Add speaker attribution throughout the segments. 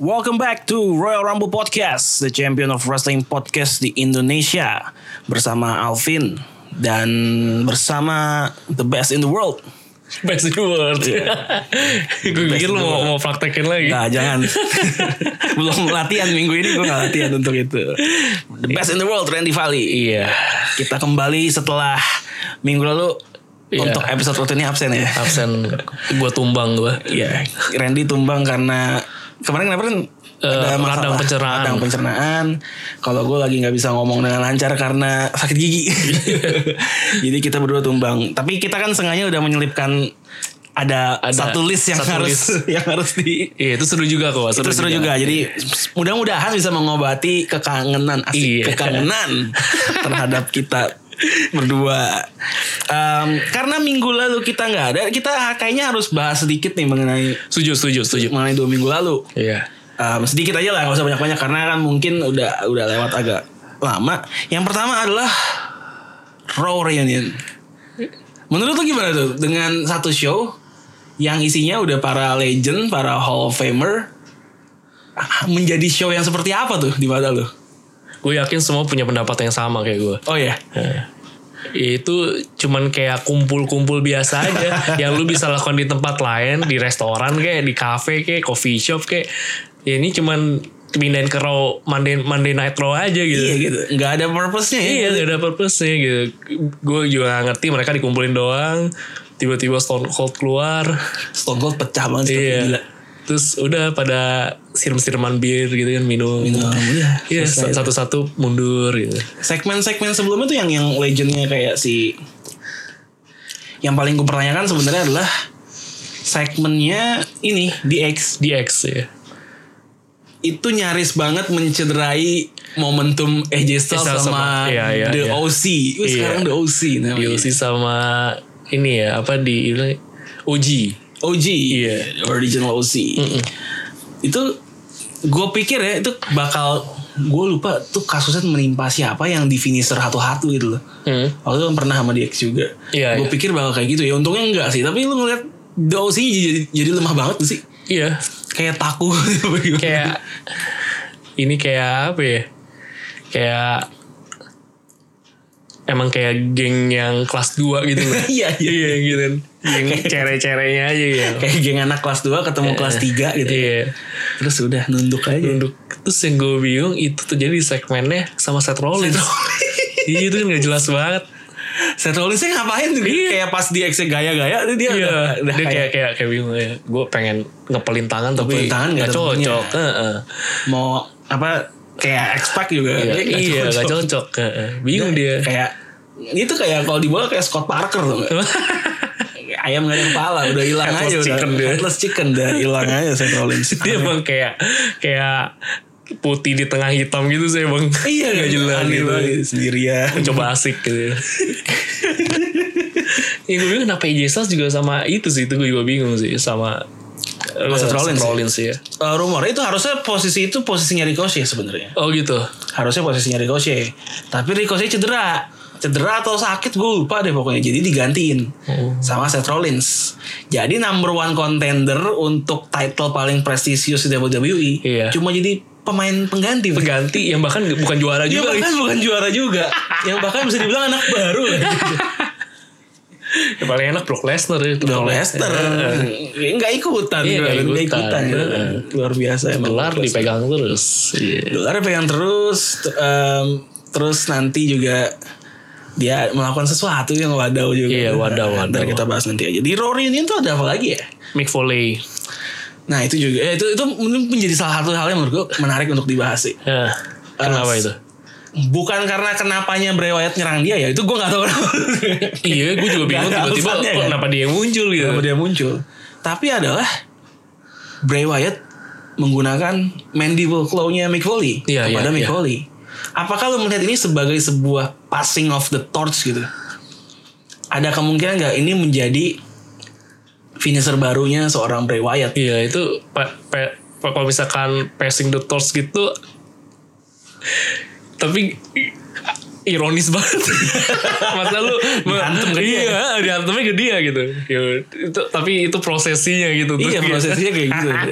Speaker 1: Welcome back to Royal Rumble Podcast, the champion of wrestling podcast di Indonesia bersama Alvin dan bersama the best in the world.
Speaker 2: Best in the world. gue
Speaker 1: Iya. Best
Speaker 2: pikir
Speaker 1: in
Speaker 2: lu
Speaker 1: the world.
Speaker 2: mau, mau praktekin lagi.
Speaker 1: Nah, jangan. Belum latihan minggu ini gue gak latihan untuk itu. The best in the world Randy Valley.
Speaker 2: Iya.
Speaker 1: Kita kembali setelah minggu lalu
Speaker 2: Iya.
Speaker 1: untuk episode rutinnya absen ya.
Speaker 2: Absen gue tumbang gue.
Speaker 1: Iya, Randy tumbang karena kemarin kenapa kan
Speaker 2: Eh, radang
Speaker 1: masalah
Speaker 2: pencernaan.
Speaker 1: Radang pencernaan. Kalau gue lagi nggak bisa ngomong dengan lancar karena sakit gigi. Jadi kita berdua tumbang. Tapi kita kan sengaja udah menyelipkan ada,
Speaker 2: Ada
Speaker 1: satu list yang
Speaker 2: satu
Speaker 1: harus
Speaker 2: list.
Speaker 1: yang harus di
Speaker 2: Iya itu seru juga kok.
Speaker 1: itu seru juga. Jadi mudah-mudahan bisa mengobati kekangenan asik
Speaker 2: Iya.
Speaker 1: kekangenan terhadap kita berdua. Em, karena minggu lalu kita nggak ada, kita kayaknya harus bahas sedikit nih mengenai
Speaker 2: Setuju, setuju, setuju.
Speaker 1: mengenai dua minggu lalu.
Speaker 2: Iya.
Speaker 1: Em, sedikit aja lah, nggak usah banyak-banyak karena kan mungkin udah udah lewat agak lama. Yang pertama adalah Raw reunion. Menurut lu gimana tuh dengan satu show yang isinya udah para legend, para Hall of Famer ah, menjadi show yang seperti apa tuh di mata lu?
Speaker 2: Gue yakin semua punya pendapat yang sama kayak gue.
Speaker 1: Oh ya,
Speaker 2: Itu cuman kayak kumpul-kumpul biasa aja yang lu bisa lakukan di tempat lain, di restoran kayak, di cafe kayak, coffee shop kayak. Ya ini cuman pindahin ke raw Monday, Monday Night Raw aja gitu.
Speaker 1: iya gitu, nggak ada purpose-nya ya.
Speaker 2: Iya gak ada purpose-nya gitu Gue juga gak ngerti mereka dikumpulin doang Tiba-tiba Stone Cold keluar
Speaker 1: Stone Cold pecah banget, seperti
Speaker 2: Iya
Speaker 1: gila.
Speaker 2: Terus udah pada siram-siraman bir gitu kan minum
Speaker 1: Minum, udah,
Speaker 2: Iya
Speaker 1: selesai.
Speaker 2: satu-satu mundur gitu
Speaker 1: segmen-segmen sebelumnya tuh yang yang legendnya kayak si yang paling gue pertanyakan sebenarnya adalah segmennya ini DX
Speaker 2: DX ya
Speaker 1: itu nyaris banget mencederai momentum AJ Styles sama,
Speaker 2: Styles sama- iya, iya,
Speaker 1: The
Speaker 2: iya.
Speaker 1: OC. Wih,
Speaker 2: Iya.
Speaker 1: Sekarang The OC namanya.
Speaker 2: DOC sama ini ya apa di OG
Speaker 1: OG,
Speaker 2: Iya. Mm.
Speaker 1: original OC. Itu gue pikir ya itu bakal gue lupa tuh kasusnya menimpa siapa yang di finisher satu-satu gitu loh.
Speaker 2: Hmm.
Speaker 1: Waktu itu kan pernah sama DX juga.
Speaker 2: Iya,
Speaker 1: gue
Speaker 2: iya.
Speaker 1: pikir bakal kayak gitu ya. Untungnya enggak sih. Tapi lu ngeliat The OC jadi, jadi lemah banget gak sih.
Speaker 2: Iya
Speaker 1: Kayak Iya, takut. apa gimana.
Speaker 2: Kayak Ini kayak apa ya Kayak Emang kayak geng yang kelas 2 gitu loh
Speaker 1: Iya iya.
Speaker 2: Iya gitu kan Yang cere-cerenya aja ya
Speaker 1: Kayak geng anak kelas 2 ketemu kelas 3 gitu.
Speaker 2: Iya
Speaker 1: Terus udah nunduk aja.
Speaker 2: Nunduk Terus yang gue bingung Itu terjadi di segmennya Sama Seth Rollins Iya itu kan gak jelas banget
Speaker 1: Iya. Seth Rollinsnya ngapain tuh? Kayak pas DX-nya gaya-gaya tuh dia
Speaker 2: Iya
Speaker 1: udah, udah
Speaker 2: Dia
Speaker 1: kayak,
Speaker 2: kayak kayak, kayak bingung ya Gue pengen ngepelin tangan Tapi
Speaker 1: Ngepelin tangan nggak
Speaker 2: gak
Speaker 1: ada bunyinya.
Speaker 2: cocok Heeh.
Speaker 1: mau apa kayak expect juga
Speaker 2: Iya,
Speaker 1: Dia nggak
Speaker 2: Iya
Speaker 1: cocok.
Speaker 2: gak cocok Heeh. Bingung dia
Speaker 1: kayak itu kayak kalau dibawa kayak Scott Parker tuh nggak? Iya, ayam gak ada kepala udah hilang aja
Speaker 2: Headless
Speaker 1: udah.
Speaker 2: chicken dia.
Speaker 1: Headless chicken udah hilang aja Seth Rollins
Speaker 2: Dia emang kayak Kayak Putih di tengah hitam gitu sih bang
Speaker 1: iya
Speaker 2: gak jelas
Speaker 1: aneh
Speaker 2: gitu
Speaker 1: banget, sendirian
Speaker 2: coba asik gitu. ya gue bingung kenapa AJ Styles juga sama itu sih itu gue juga bingung sih sama
Speaker 1: Sama Seth
Speaker 2: eh,
Speaker 1: Rollins ya?
Speaker 2: ya.
Speaker 1: Eh, rumor itu harusnya posisi itu posisinya Ricochet sebenarnya
Speaker 2: Oh gitu.
Speaker 1: harusnya posisinya Ricochet tapi Ricochet cedera cedera atau sakit gue lupa deh pokoknya jadi digantiin
Speaker 2: Oh.
Speaker 1: sama Seth Rollins jadi number one contender untuk title paling prestisius di WWE
Speaker 2: Iya.
Speaker 1: cuma jadi pemain pengganti
Speaker 2: Pengganti yang bahkan bukan juara
Speaker 1: Yang
Speaker 2: juga.
Speaker 1: Iya, bahkan bukan juara juga yang bahkan bisa dibilang anak baru
Speaker 2: Ya, paling enak Brock Lesnar ya.
Speaker 1: Brock Lesnar nggak ikutan
Speaker 2: Iya, nggak
Speaker 1: nggak ikutan,
Speaker 2: ikutan.
Speaker 1: gitu. luar biasa emang
Speaker 2: Gelar
Speaker 1: Brock Lesnar.
Speaker 2: dipegang terus. Iya.
Speaker 1: dolar pegang terus ter- em, terus nanti juga dia melakukan sesuatu yang wadaw juga
Speaker 2: Iya, wadaw,
Speaker 1: Nah, ntar
Speaker 2: wadaw.
Speaker 1: kita bahas nanti aja di Rory ini tuh ada apa lagi ya
Speaker 2: Mick Foley.
Speaker 1: nah itu juga eh, itu itu menjadi salah satu hal yang menurut gue menarik untuk dibahas sih
Speaker 2: Ya.
Speaker 1: Eh,
Speaker 2: Kenapa itu?
Speaker 1: bukan karena kenapanya Bray Wyatt nyerang dia ya itu gue nggak tahu
Speaker 2: iya, gue juga bingung
Speaker 1: Nggak ada
Speaker 2: tiba-tiba
Speaker 1: alasannya,
Speaker 2: kok
Speaker 1: kan?
Speaker 2: kenapa dia yang muncul gitu.
Speaker 1: kenapa dia muncul tapi adalah Bray Wyatt menggunakan mandible claw-nya Mick Foley
Speaker 2: Iya,
Speaker 1: kepada
Speaker 2: iya,
Speaker 1: Mick
Speaker 2: iya.
Speaker 1: Foley. Apakah lo melihat ini sebagai sebuah passing of the torch gitu? Ada kemungkinan nggak ini menjadi finisher barunya seorang Bray Wyatt?
Speaker 2: Iya itu pe- pe- pe- kalau misalkan passing the torch gitu tapi i- ironis banget masa lu me-
Speaker 1: Dihantam ke dia. ya?
Speaker 2: iya dihantamnya ke dia gitu Ya, itu, tapi itu prosesinya gitu Terus
Speaker 1: Iya
Speaker 2: dia-
Speaker 1: prosesnya kayak gitu.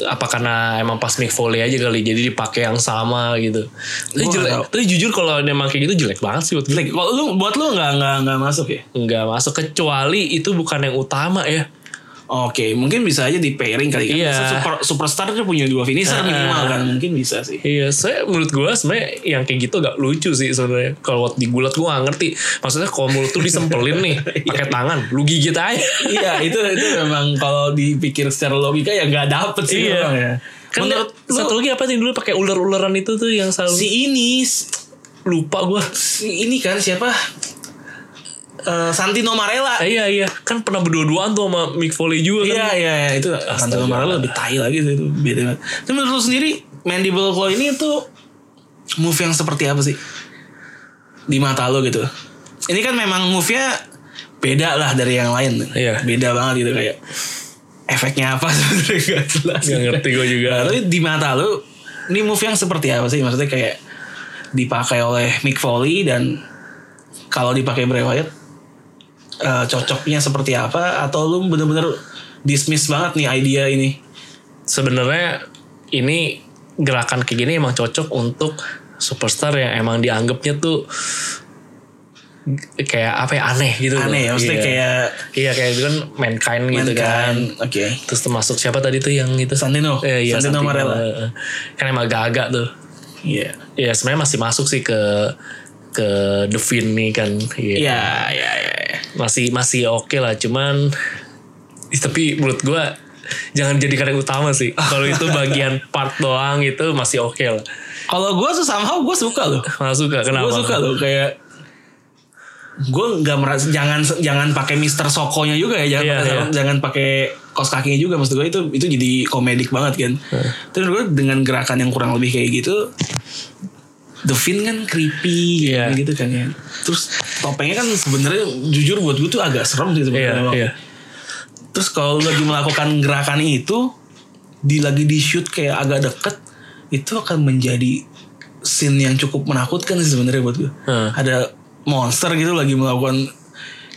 Speaker 2: apa karena emang pas Mick Foley aja kali jadi dipakai yang sama gitu tapi,
Speaker 1: Gua
Speaker 2: jelek,
Speaker 1: nggak
Speaker 2: tapi jujur kalau emang kayak gitu jelek banget sih buat gue
Speaker 1: Like, kalau lu buat lu nggak nggak nggak masuk ya?
Speaker 2: nggak masuk kecuali itu bukan yang utama ya
Speaker 1: Oke, mungkin bisa aja di pairing kali kan.
Speaker 2: Iya.
Speaker 1: Biasa Super, superstar tuh punya dua finisher minimal kan, mungkin bisa sih.
Speaker 2: Iya, saya menurut gue sebenarnya yang kayak gitu gak lucu sih sebenarnya. Kalau buat digulat gue gak ngerti. Maksudnya kalau mulut tuh disempelin nih pakai tangan, lu gigit aja.
Speaker 1: iya, itu itu memang kalau dipikir secara logika ya nggak dapet sih
Speaker 2: Iya.
Speaker 1: memang ya.
Speaker 2: Kan
Speaker 1: Menurut lu,
Speaker 2: satu lagi apa sih dulu pakai ular-ularan itu tuh yang selalu
Speaker 1: si ini s-
Speaker 2: lupa gue.
Speaker 1: si ini kan siapa? Eh, Santino Marella.
Speaker 2: iya iya, kan pernah berdua-duaan tuh sama Mick Foley juga
Speaker 1: Iya,
Speaker 2: kan.
Speaker 1: iya, iya, itu Santino Marella lebih tai lagi sih itu beda banget. Tapi menurut lu sendiri Mandible Claw ini tuh move yang seperti apa sih? Di mata lo gitu. Ini kan memang move-nya beda lah dari yang lain.
Speaker 2: Iya.
Speaker 1: Beda banget gitu kayak efeknya apa sebenarnya gak jelas.
Speaker 2: Nggak ngerti gua juga.
Speaker 1: Nah, tapi di mata lo ini move yang seperti apa sih? Maksudnya kayak dipakai oleh Mick Foley dan kalau dipakai Bray Wyatt eh, cocoknya seperti apa atau lu bener-bener dismiss banget nih idea ini
Speaker 2: Sebenarnya ini gerakan kayak gini emang cocok untuk superstar yang emang dianggapnya tuh kayak apa ya aneh gitu loh.
Speaker 1: aneh ya maksudnya
Speaker 2: Iya.
Speaker 1: kayak
Speaker 2: Iya kayak itu kan mankind gitu kan.
Speaker 1: kan oke
Speaker 2: Terus termasuk siapa tadi tuh yang itu?
Speaker 1: Santino.
Speaker 2: Eh, iya,
Speaker 1: Santino
Speaker 2: Santino
Speaker 1: Marella.
Speaker 2: Marella. Kan emang agak-agak tuh.
Speaker 1: iya
Speaker 2: Ya sebenarnya masih masuk sih ke ke The Fin nih kan. Iya.
Speaker 1: iya iya iya iya.
Speaker 2: Masih masih oke lah cuman ih, tapi menurut gua jangan jadi karya utama sih. Kalau itu bagian part doang itu masih oke lah.
Speaker 1: kalau gue tuh somehow gue suka loh
Speaker 2: Malah suka
Speaker 1: gue
Speaker 2: kenapa?
Speaker 1: suka loh kayak gue nggak merasa jangan jangan pakai Mister Sokonya juga ya jangan
Speaker 2: Iya,
Speaker 1: pakai
Speaker 2: iya.
Speaker 1: jangan pakai kos kakinya juga maksud gue itu itu jadi komedik banget kan
Speaker 2: Iya.
Speaker 1: terus gue dengan gerakan yang kurang lebih kayak gitu The Fin kan creepy
Speaker 2: Iya.
Speaker 1: gitu kan ya terus topengnya kan sebenarnya jujur buat gue tuh agak serem sih
Speaker 2: Iya,
Speaker 1: sebenarnya
Speaker 2: iya.
Speaker 1: terus kalau lu lagi melakukan gerakan itu di lagi di shoot kayak agak deket itu akan menjadi scene yang cukup menakutkan sih sebenarnya buat gue
Speaker 2: Hmm.
Speaker 1: ada monster gitu lagi melakukan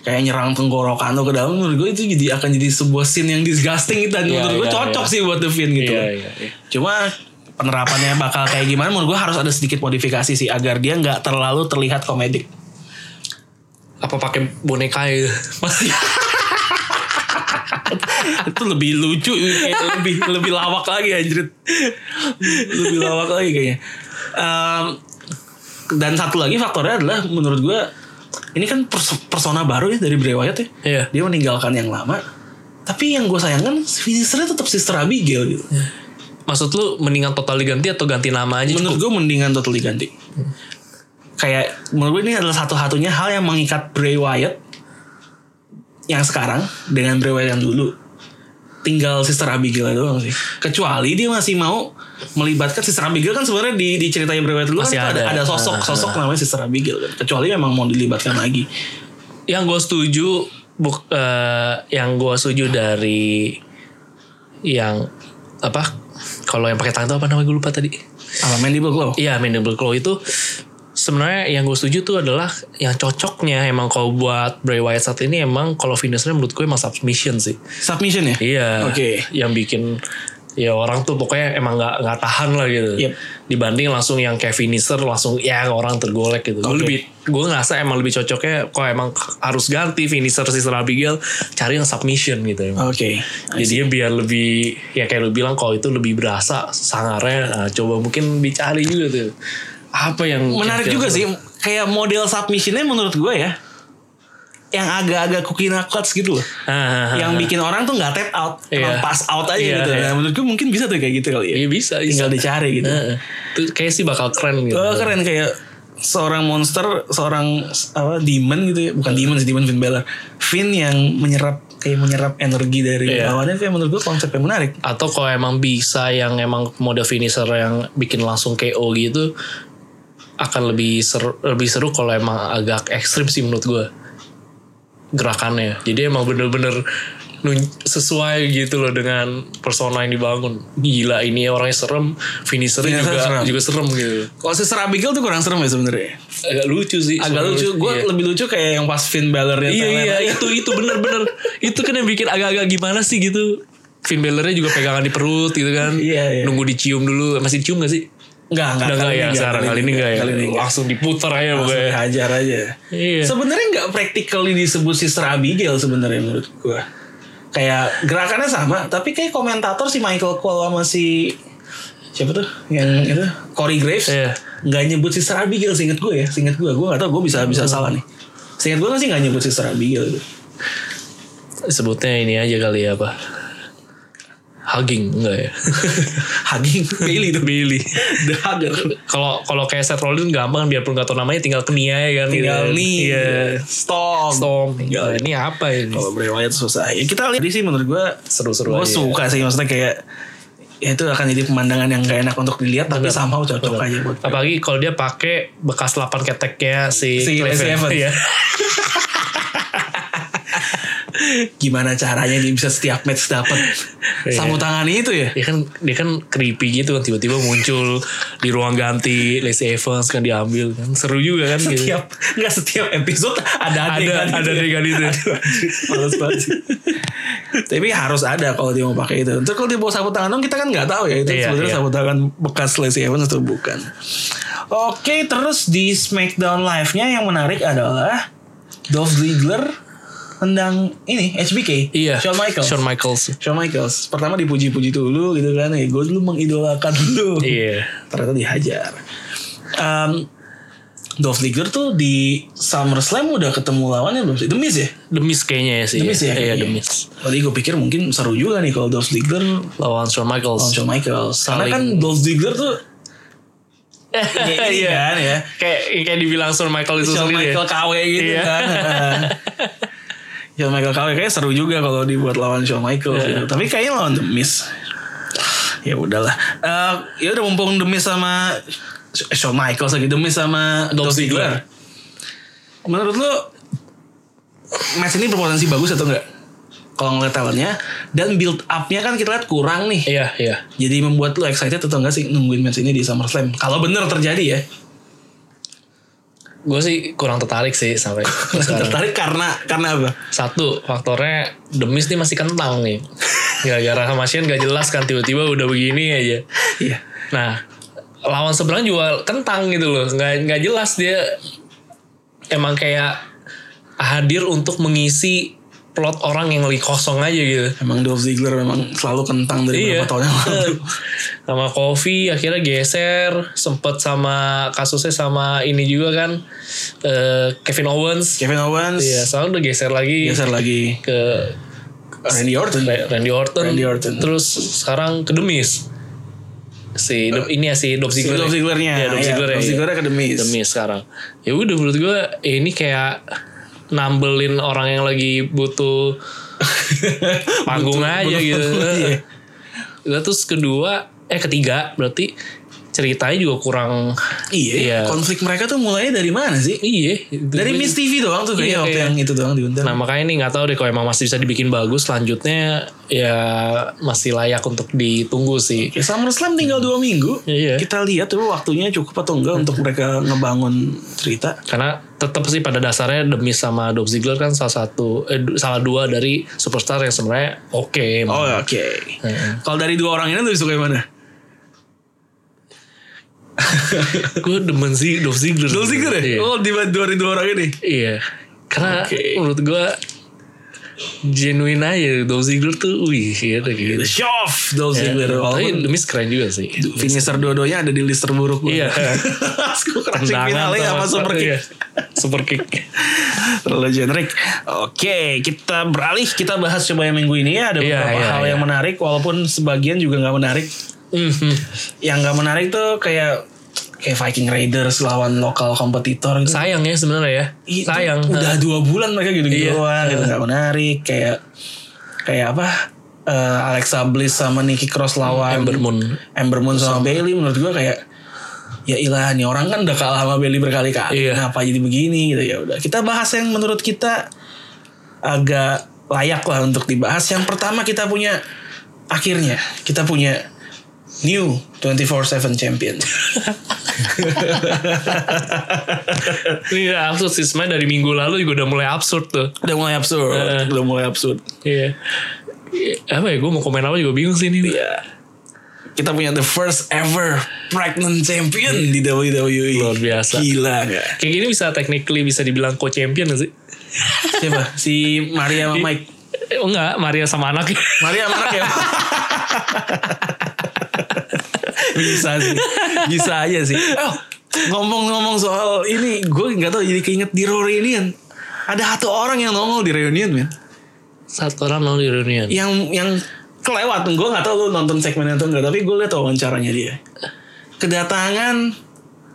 Speaker 1: kayak nyerang tenggorokan lo ke dalam menurut gue itu jadi akan jadi sebuah scene yang disgusting dan
Speaker 2: Iya,
Speaker 1: menurut gue
Speaker 2: iya,
Speaker 1: cocok
Speaker 2: iya.
Speaker 1: sih buat The Fiend gitu
Speaker 2: Iya, iya, iya.
Speaker 1: cuma penerapannya bakal kayak gimana menurut gue harus ada sedikit modifikasi sih agar dia nggak terlalu terlihat komedik
Speaker 2: Apa pakai boneka ya? Masih
Speaker 1: itu lebih lucu kayak lebih lebih lawak lagi anjrit lebih lawak lagi kayaknya Em, dan satu lagi faktornya adalah menurut gue ini kan pers- persona baru ya dari Bray Wyatt ya
Speaker 2: Iya.
Speaker 1: dia meninggalkan yang lama tapi yang gue sayangkan finishernya tetap Sister Abigail gitu
Speaker 2: Maksud lu mendingan total diganti atau ganti nama aja?
Speaker 1: menurut gue mendingan totally ganti kayak menurut gue ini adalah satu-satunya hal yang mengikat Bray Wyatt yang sekarang dengan Bray Wyatt yang dulu tinggal Sister Abigail doang sih kecuali dia masih mau melibatkan Sister Abigail kan sebenarnya di, di ceritanya Bray Wyatt dulu
Speaker 2: Masih
Speaker 1: kan tuh ada.
Speaker 2: ada.
Speaker 1: ada sosok
Speaker 2: Ah,
Speaker 1: sosok namanya Sister Abigail kan kecuali memang mau dilibatkan lagi
Speaker 2: yang gue setuju buk, eh, yang gue setuju dari yang apa kalau yang pakai tangan itu apa namanya gue lupa tadi
Speaker 1: apa Mandible Claw
Speaker 2: iya mandible claw itu sebenarnya yang gue setuju tuh adalah yang cocoknya emang kalau buat Bray Wyatt saat ini emang kalau finishnya menurut gue emang submission sih
Speaker 1: submission ya
Speaker 2: iya
Speaker 1: Oke.
Speaker 2: yang bikin ya orang tuh pokoknya emang nggak nggak tahan lah gitu
Speaker 1: Yep.
Speaker 2: dibanding langsung yang kayak finisher langsung ya orang tergolek gitu gue
Speaker 1: Oke.
Speaker 2: lebih gue ngerasa emang lebih cocoknya kalau emang harus ganti finisher Sister Abigail cari yang submission gitu emang.
Speaker 1: oke
Speaker 2: Jadinya biar lebih ya kayak lu bilang kalau itu lebih berasa sangarnya nah, coba mungkin dicari juga tuh apa yang
Speaker 1: menarik juga sih kayak model submissionnya menurut gue ya yang agak-agag kukina cuts gitu loh
Speaker 2: Ah,
Speaker 1: yang bikin orang tuh nggak tap out, emang
Speaker 2: Iya.
Speaker 1: pass out aja
Speaker 2: Iya,
Speaker 1: gitu.
Speaker 2: iya.
Speaker 1: Nah, menurut gue mungkin bisa tuh kayak gitu kali ya.
Speaker 2: ya bisa, bisa.
Speaker 1: Tinggal dicari gitu.
Speaker 2: Heeh. itu kayak sih bakal keren gitu
Speaker 1: Oh, keren kayak seorang monster, seorang apa demon gitu ya, bukan demon sih demon Finn Balor. Finn yang menyerap kayak menyerap energi dari
Speaker 2: Iya.
Speaker 1: lawannya kayak menurut gue konsep yang menarik.
Speaker 2: atau kalau emang bisa yang emang mode finisher yang bikin langsung KO gitu akan lebih seru lebih seru kalau emang agak ekstrim sih menurut gue gerakannya jadi emang bener-bener nun- sesuai gitu loh dengan persona yang dibangun gila ini orangnya serem
Speaker 1: Finisher
Speaker 2: finishernya juga
Speaker 1: Iya, serem.
Speaker 2: juga serem gitu
Speaker 1: Kalau Sister Abigail tuh kurang serem ya sebenarnya.
Speaker 2: agak lucu sih
Speaker 1: Agak
Speaker 2: sebenarnya.
Speaker 1: lucu. Gue
Speaker 2: Iya.
Speaker 1: lebih lucu kayak yang pas Finn Balor
Speaker 2: Iya iya itu itu bener-bener itu kan yang bikin agak-agak gimana sih gitu. Finn Balor-nya juga pegangan di perut gitu kan.
Speaker 1: Iya, iya.
Speaker 2: Nunggu dicium dulu masih dicium gak sih?
Speaker 1: Enggak, enggak.
Speaker 2: Udah enggak
Speaker 1: kali
Speaker 2: ya
Speaker 1: ini
Speaker 2: sekarang kali ini enggak ya.
Speaker 1: Kali ini enggak.
Speaker 2: Langsung diputar aja
Speaker 1: Langsung
Speaker 2: pokoknya.
Speaker 1: dihajar aja.
Speaker 2: Iya.
Speaker 1: Sebenarnya nggak praktikal disebut Sister Abigail sebenarnya menurut gue. Kayak gerakannya sama, tapi kayak komentator si Michael Cole sama si siapa tuh yang itu Corey Graves
Speaker 2: Hmm. Iya.
Speaker 1: nggak nyebut Sister Abigail seinget gue ya, seinget gue gue nggak tahu gue bisa
Speaker 2: Hmm.
Speaker 1: bisa salah nih. Seinget gue sih nggak nyebut Sister Abigail itu.
Speaker 2: Sebutnya ini aja kali ya apa? Hugging enggak ya?
Speaker 1: Hugging Bailey itu
Speaker 2: Bailey.
Speaker 1: The Hugger.
Speaker 2: Kalau kalau kayak Seth Rollins gampang biarpun gak tau namanya tinggal kenia ya kan.
Speaker 1: Tinggal
Speaker 2: gitu.
Speaker 1: nih
Speaker 2: Iya.
Speaker 1: Storm.
Speaker 2: Storm.
Speaker 1: Tinggal
Speaker 2: Ini apa ini?
Speaker 1: Kalau Bray Wyatt susah. Ya, kita lihat Jadi sih menurut gue
Speaker 2: Seru-seru
Speaker 1: Gue
Speaker 2: aja.
Speaker 1: suka sih maksudnya kayak ya itu akan jadi pemandangan yang gak enak untuk dilihat tapi sama cocok aja buat
Speaker 2: Apalagi kalau dia pakai bekas lapan keteknya si,
Speaker 1: Si
Speaker 2: Cliff
Speaker 1: Lacey Evans.
Speaker 2: Iya.
Speaker 1: gimana caranya dia bisa setiap match dapat
Speaker 2: Iya.
Speaker 1: sapu tangan itu ya.
Speaker 2: dia kan dia kan creepy gitu kan tiba-tiba muncul di ruang ganti Lacey Evans kan diambil kan seru juga kan gitu.
Speaker 1: Setiap nggak setiap episode ada adegan
Speaker 2: ada ada
Speaker 1: gitu ya.
Speaker 2: adegan itu.
Speaker 1: Males banget sih. Tapi harus ada kalau dia mau pakai itu. Terus kalau dia bawa sapu tangan dong kita kan nggak tahu ya itu
Speaker 2: Iya,
Speaker 1: sebenarnya
Speaker 2: iya.
Speaker 1: sapu tangan bekas Lacey Evans atau bukan. Oke, terus di Smackdown Live-nya yang menarik adalah Dolph Ziggler tendang ini HBK,
Speaker 2: Iya.
Speaker 1: Shawn Michaels.
Speaker 2: Shawn Michaels.
Speaker 1: Shawn Michaels pertama dipuji-puji dulu gitu kan ya gue dulu mengidolakan lu
Speaker 2: Iya.
Speaker 1: ternyata dihajar Em Dolph Ziggler tuh di SummerSlam udah ketemu lawannya belum sih The Miz ya
Speaker 2: Demis kayaknya ya sih.
Speaker 1: The Miz ya
Speaker 2: Iya,
Speaker 1: kayaknya.
Speaker 2: Demis.
Speaker 1: tadi gue pikir mungkin seru juga nih kalau Dolph Ziggler
Speaker 2: Lawan Shawn Michaels.
Speaker 1: lawan Shawn Michaels karena
Speaker 2: Saling-
Speaker 1: kan Dolph Ziggler tuh ini, ini
Speaker 2: Iya.
Speaker 1: kan ya
Speaker 2: Kayak kayak dibilang Shawn Michaels itu
Speaker 1: Shawn
Speaker 2: sendiri.
Speaker 1: Michael
Speaker 2: ya.
Speaker 1: KW gitu
Speaker 2: Iya.
Speaker 1: kan Shawn Michael KW kayaknya seru juga kalau dibuat lawan Shawn Michael gitu. Tapi kayaknya lawan The Miz. Ya udahlah. Eh, ya udah mumpung The Miz sama eh, Shawn Michaels lagi The Miz sama Dolph
Speaker 2: Dolph
Speaker 1: Ziggler. Menurut lu match ini berpotensi bagus atau enggak? Kalau ngeliat talentnya dan build up-nya kan kita lihat kurang nih.
Speaker 2: Iya, iya.
Speaker 1: Jadi membuat lu excited atau enggak sih nungguin match ini di SummerSlam? Kalau bener terjadi ya.
Speaker 2: Gue sih kurang tertarik sih sampai sekarang.
Speaker 1: Tertarik karena karena apa?
Speaker 2: Satu faktornya Demis nih masih kentang nih. Gara-gara sama Shane gak jelas kan tiba-tiba udah begini aja.
Speaker 1: Iya.
Speaker 2: Nah, lawan seberang juga kentang gitu loh. Nggak, nggak jelas dia emang kayak hadir untuk mengisi plot orang yang lagi kosong aja gitu.
Speaker 1: Emang Dolph Ziggler memang selalu kentang dari
Speaker 2: Iya.
Speaker 1: beberapa tahun yang lalu.
Speaker 2: sama Kofi akhirnya geser sempet sama kasusnya sama ini juga kan eh, Kevin Owens.
Speaker 1: Kevin Owens,
Speaker 2: Iya, soalnya udah geser lagi
Speaker 1: geser lagi
Speaker 2: ke
Speaker 1: Randy Orton.
Speaker 2: Ra- Randy Orton.
Speaker 1: Randy Orton.
Speaker 2: Terus sekarang ke Demis. Si Do- ini ya si Dolph
Speaker 1: Si
Speaker 2: Ziggler.
Speaker 1: Dolph Ziggler-nya.
Speaker 2: Iya, Dolph
Speaker 1: Iya,
Speaker 2: Ziggler.
Speaker 1: Dolph Ziggler-nya ke The Miz.
Speaker 2: Demis sekarang. Ya udah menurut gue ini kayak nambelin orang yang lagi butuh panggung
Speaker 1: Butuh-
Speaker 2: aja
Speaker 1: butuh
Speaker 2: gitu.
Speaker 1: panggung, iya.
Speaker 2: Nah, terus kedua, eh ketiga berarti ceritanya juga kurang
Speaker 1: Iya, konflik mereka tuh mulainya dari mana sih?
Speaker 2: Iya,
Speaker 1: Dari Miss TV doang tuh kayaknya
Speaker 2: Iya,
Speaker 1: waktu
Speaker 2: kayak-
Speaker 1: yang itu doang diundang.
Speaker 2: Nah makanya ini nggak tahu deh kalau emang masih bisa dibikin bagus selanjutnya ya masih layak untuk ditunggu sih.
Speaker 1: Ya, SummerSlam tinggal dua minggu.
Speaker 2: Iya.
Speaker 1: Kita lihat tuh waktunya cukup atau enggak untuk mereka ngebangun cerita.
Speaker 2: Karena tetap sih pada dasarnya demi sama Dolph Ziggler kan salah satu eh, du- salah dua dari superstar yang sebenarnya oke. emang.
Speaker 1: Oh oke. Kalau dari dua orang ini lebih suka yang mana?
Speaker 2: Gue demen sih Dolph Ziggler.
Speaker 1: Dolph Ziggler
Speaker 2: Iya.
Speaker 1: ya? Oh di dari dua orang ini.
Speaker 2: Iya. Karena
Speaker 1: Oke.
Speaker 2: menurut gue genuine aja Dolph Ziggler tuh wih gitu gitu.
Speaker 1: The Show off Dolph Ziggler.
Speaker 2: Iya, Tapi
Speaker 1: Walaupun
Speaker 2: demi keren juga sih.
Speaker 1: finisher dua-duanya ada di list terburuk. gue.
Speaker 2: Iya.
Speaker 1: Aku crashing finalnya sama super kick.
Speaker 2: Iya. Super kick.
Speaker 1: Terlalu generik. Oke, kita beralih kita bahas coba yang minggu ini ya ada
Speaker 2: Iya,
Speaker 1: beberapa
Speaker 2: iya,
Speaker 1: hal
Speaker 2: iya.
Speaker 1: yang menarik walaupun sebagian juga nggak menarik.
Speaker 2: Mhm.
Speaker 1: Yang nggak menarik tuh kayak kayak Viking Raiders lawan lokal kompetitor gitu.
Speaker 2: sayang ya sebenarnya ya
Speaker 1: Itu
Speaker 2: sayang
Speaker 1: Udah dua bulan mereka gitu-gitu
Speaker 2: Iya.
Speaker 1: doang gitu nggak menarik kayak kayak apa? eh, Alexa Bliss sama Nikki Cross lawan
Speaker 2: Ember Moon
Speaker 1: Ember Moon sama Bailey menurut gua kayak ya ilah nih orang kan udah kalah sama Bailey berkali-kali.
Speaker 2: Iya.
Speaker 1: Kenapa jadi begini gitu ya udah. Kita bahas yang menurut kita agak layak lah untuk dibahas. Yang pertama kita punya akhirnya kita punya new 24/7 champion.
Speaker 2: ini Iya, absurd sih sebenarnya dari minggu lalu juga udah mulai absurd tuh
Speaker 1: udah mulai absurd, udah mulai absurd.
Speaker 2: iya apa ya gue mau komen apa juga bingung sih ini
Speaker 1: Iya. Kita punya the first ever pregnant champion di WWE.
Speaker 2: Luar biasa.
Speaker 1: Gila gak?
Speaker 2: kayak gini bisa technically bisa dibilang co-champion gak sih
Speaker 1: Siapa? Si Maria sama Mike.
Speaker 2: Eh, enggak Maria sama anaknya
Speaker 1: Maria sama Mike ya? bisa sih. Bisa aja sih. Oh, ngomong-ngomong soal ini, gue nggak tahu jadi keinget di Raw reunion. Ada satu orang yang nongol di reunion, men.
Speaker 2: satu orang nol di reunion
Speaker 1: Yang yang kelewat, gue nggak tahu lu nonton segmen atau enggak, tapi gue lihat wawancaranya dia. Kedatangan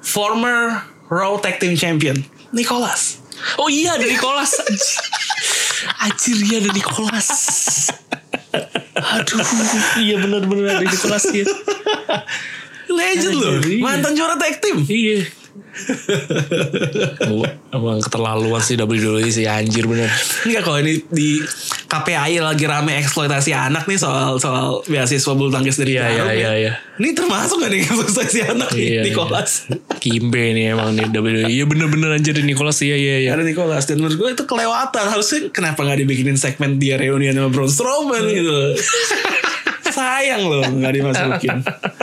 Speaker 1: former Raw Tag Team Champion, Nicholas.
Speaker 2: oh iya ada Nicholas Anjir iya ada Nicholas aduh iya benar-benar ada Nicholas ya
Speaker 1: Legend loh, mantan juara tag team.
Speaker 2: iya Gua Emang keterlaluan sih WWE sih anjir bener
Speaker 1: Enggak kalau ini di KPI lagi rame eksploitasi anak nih soal soal beasiswa bulu tangkis dari
Speaker 2: Iya, iya,
Speaker 1: Jarum ya.
Speaker 2: iya, iya.
Speaker 1: Ini termasuk gak nih eksploitasi anak nih,
Speaker 2: Iya,
Speaker 1: Nicholas?
Speaker 2: Kimbe nih emang nih WWE Iya bener-bener anjir ada Nicholas Iya iya iya
Speaker 1: Ada Nicholas dan menurut gue itu kelewatan harusnya kenapa nggak dibikinin segmen dia reunian sama Braun Strowman gitu. Sayang loh nggak dimasukin.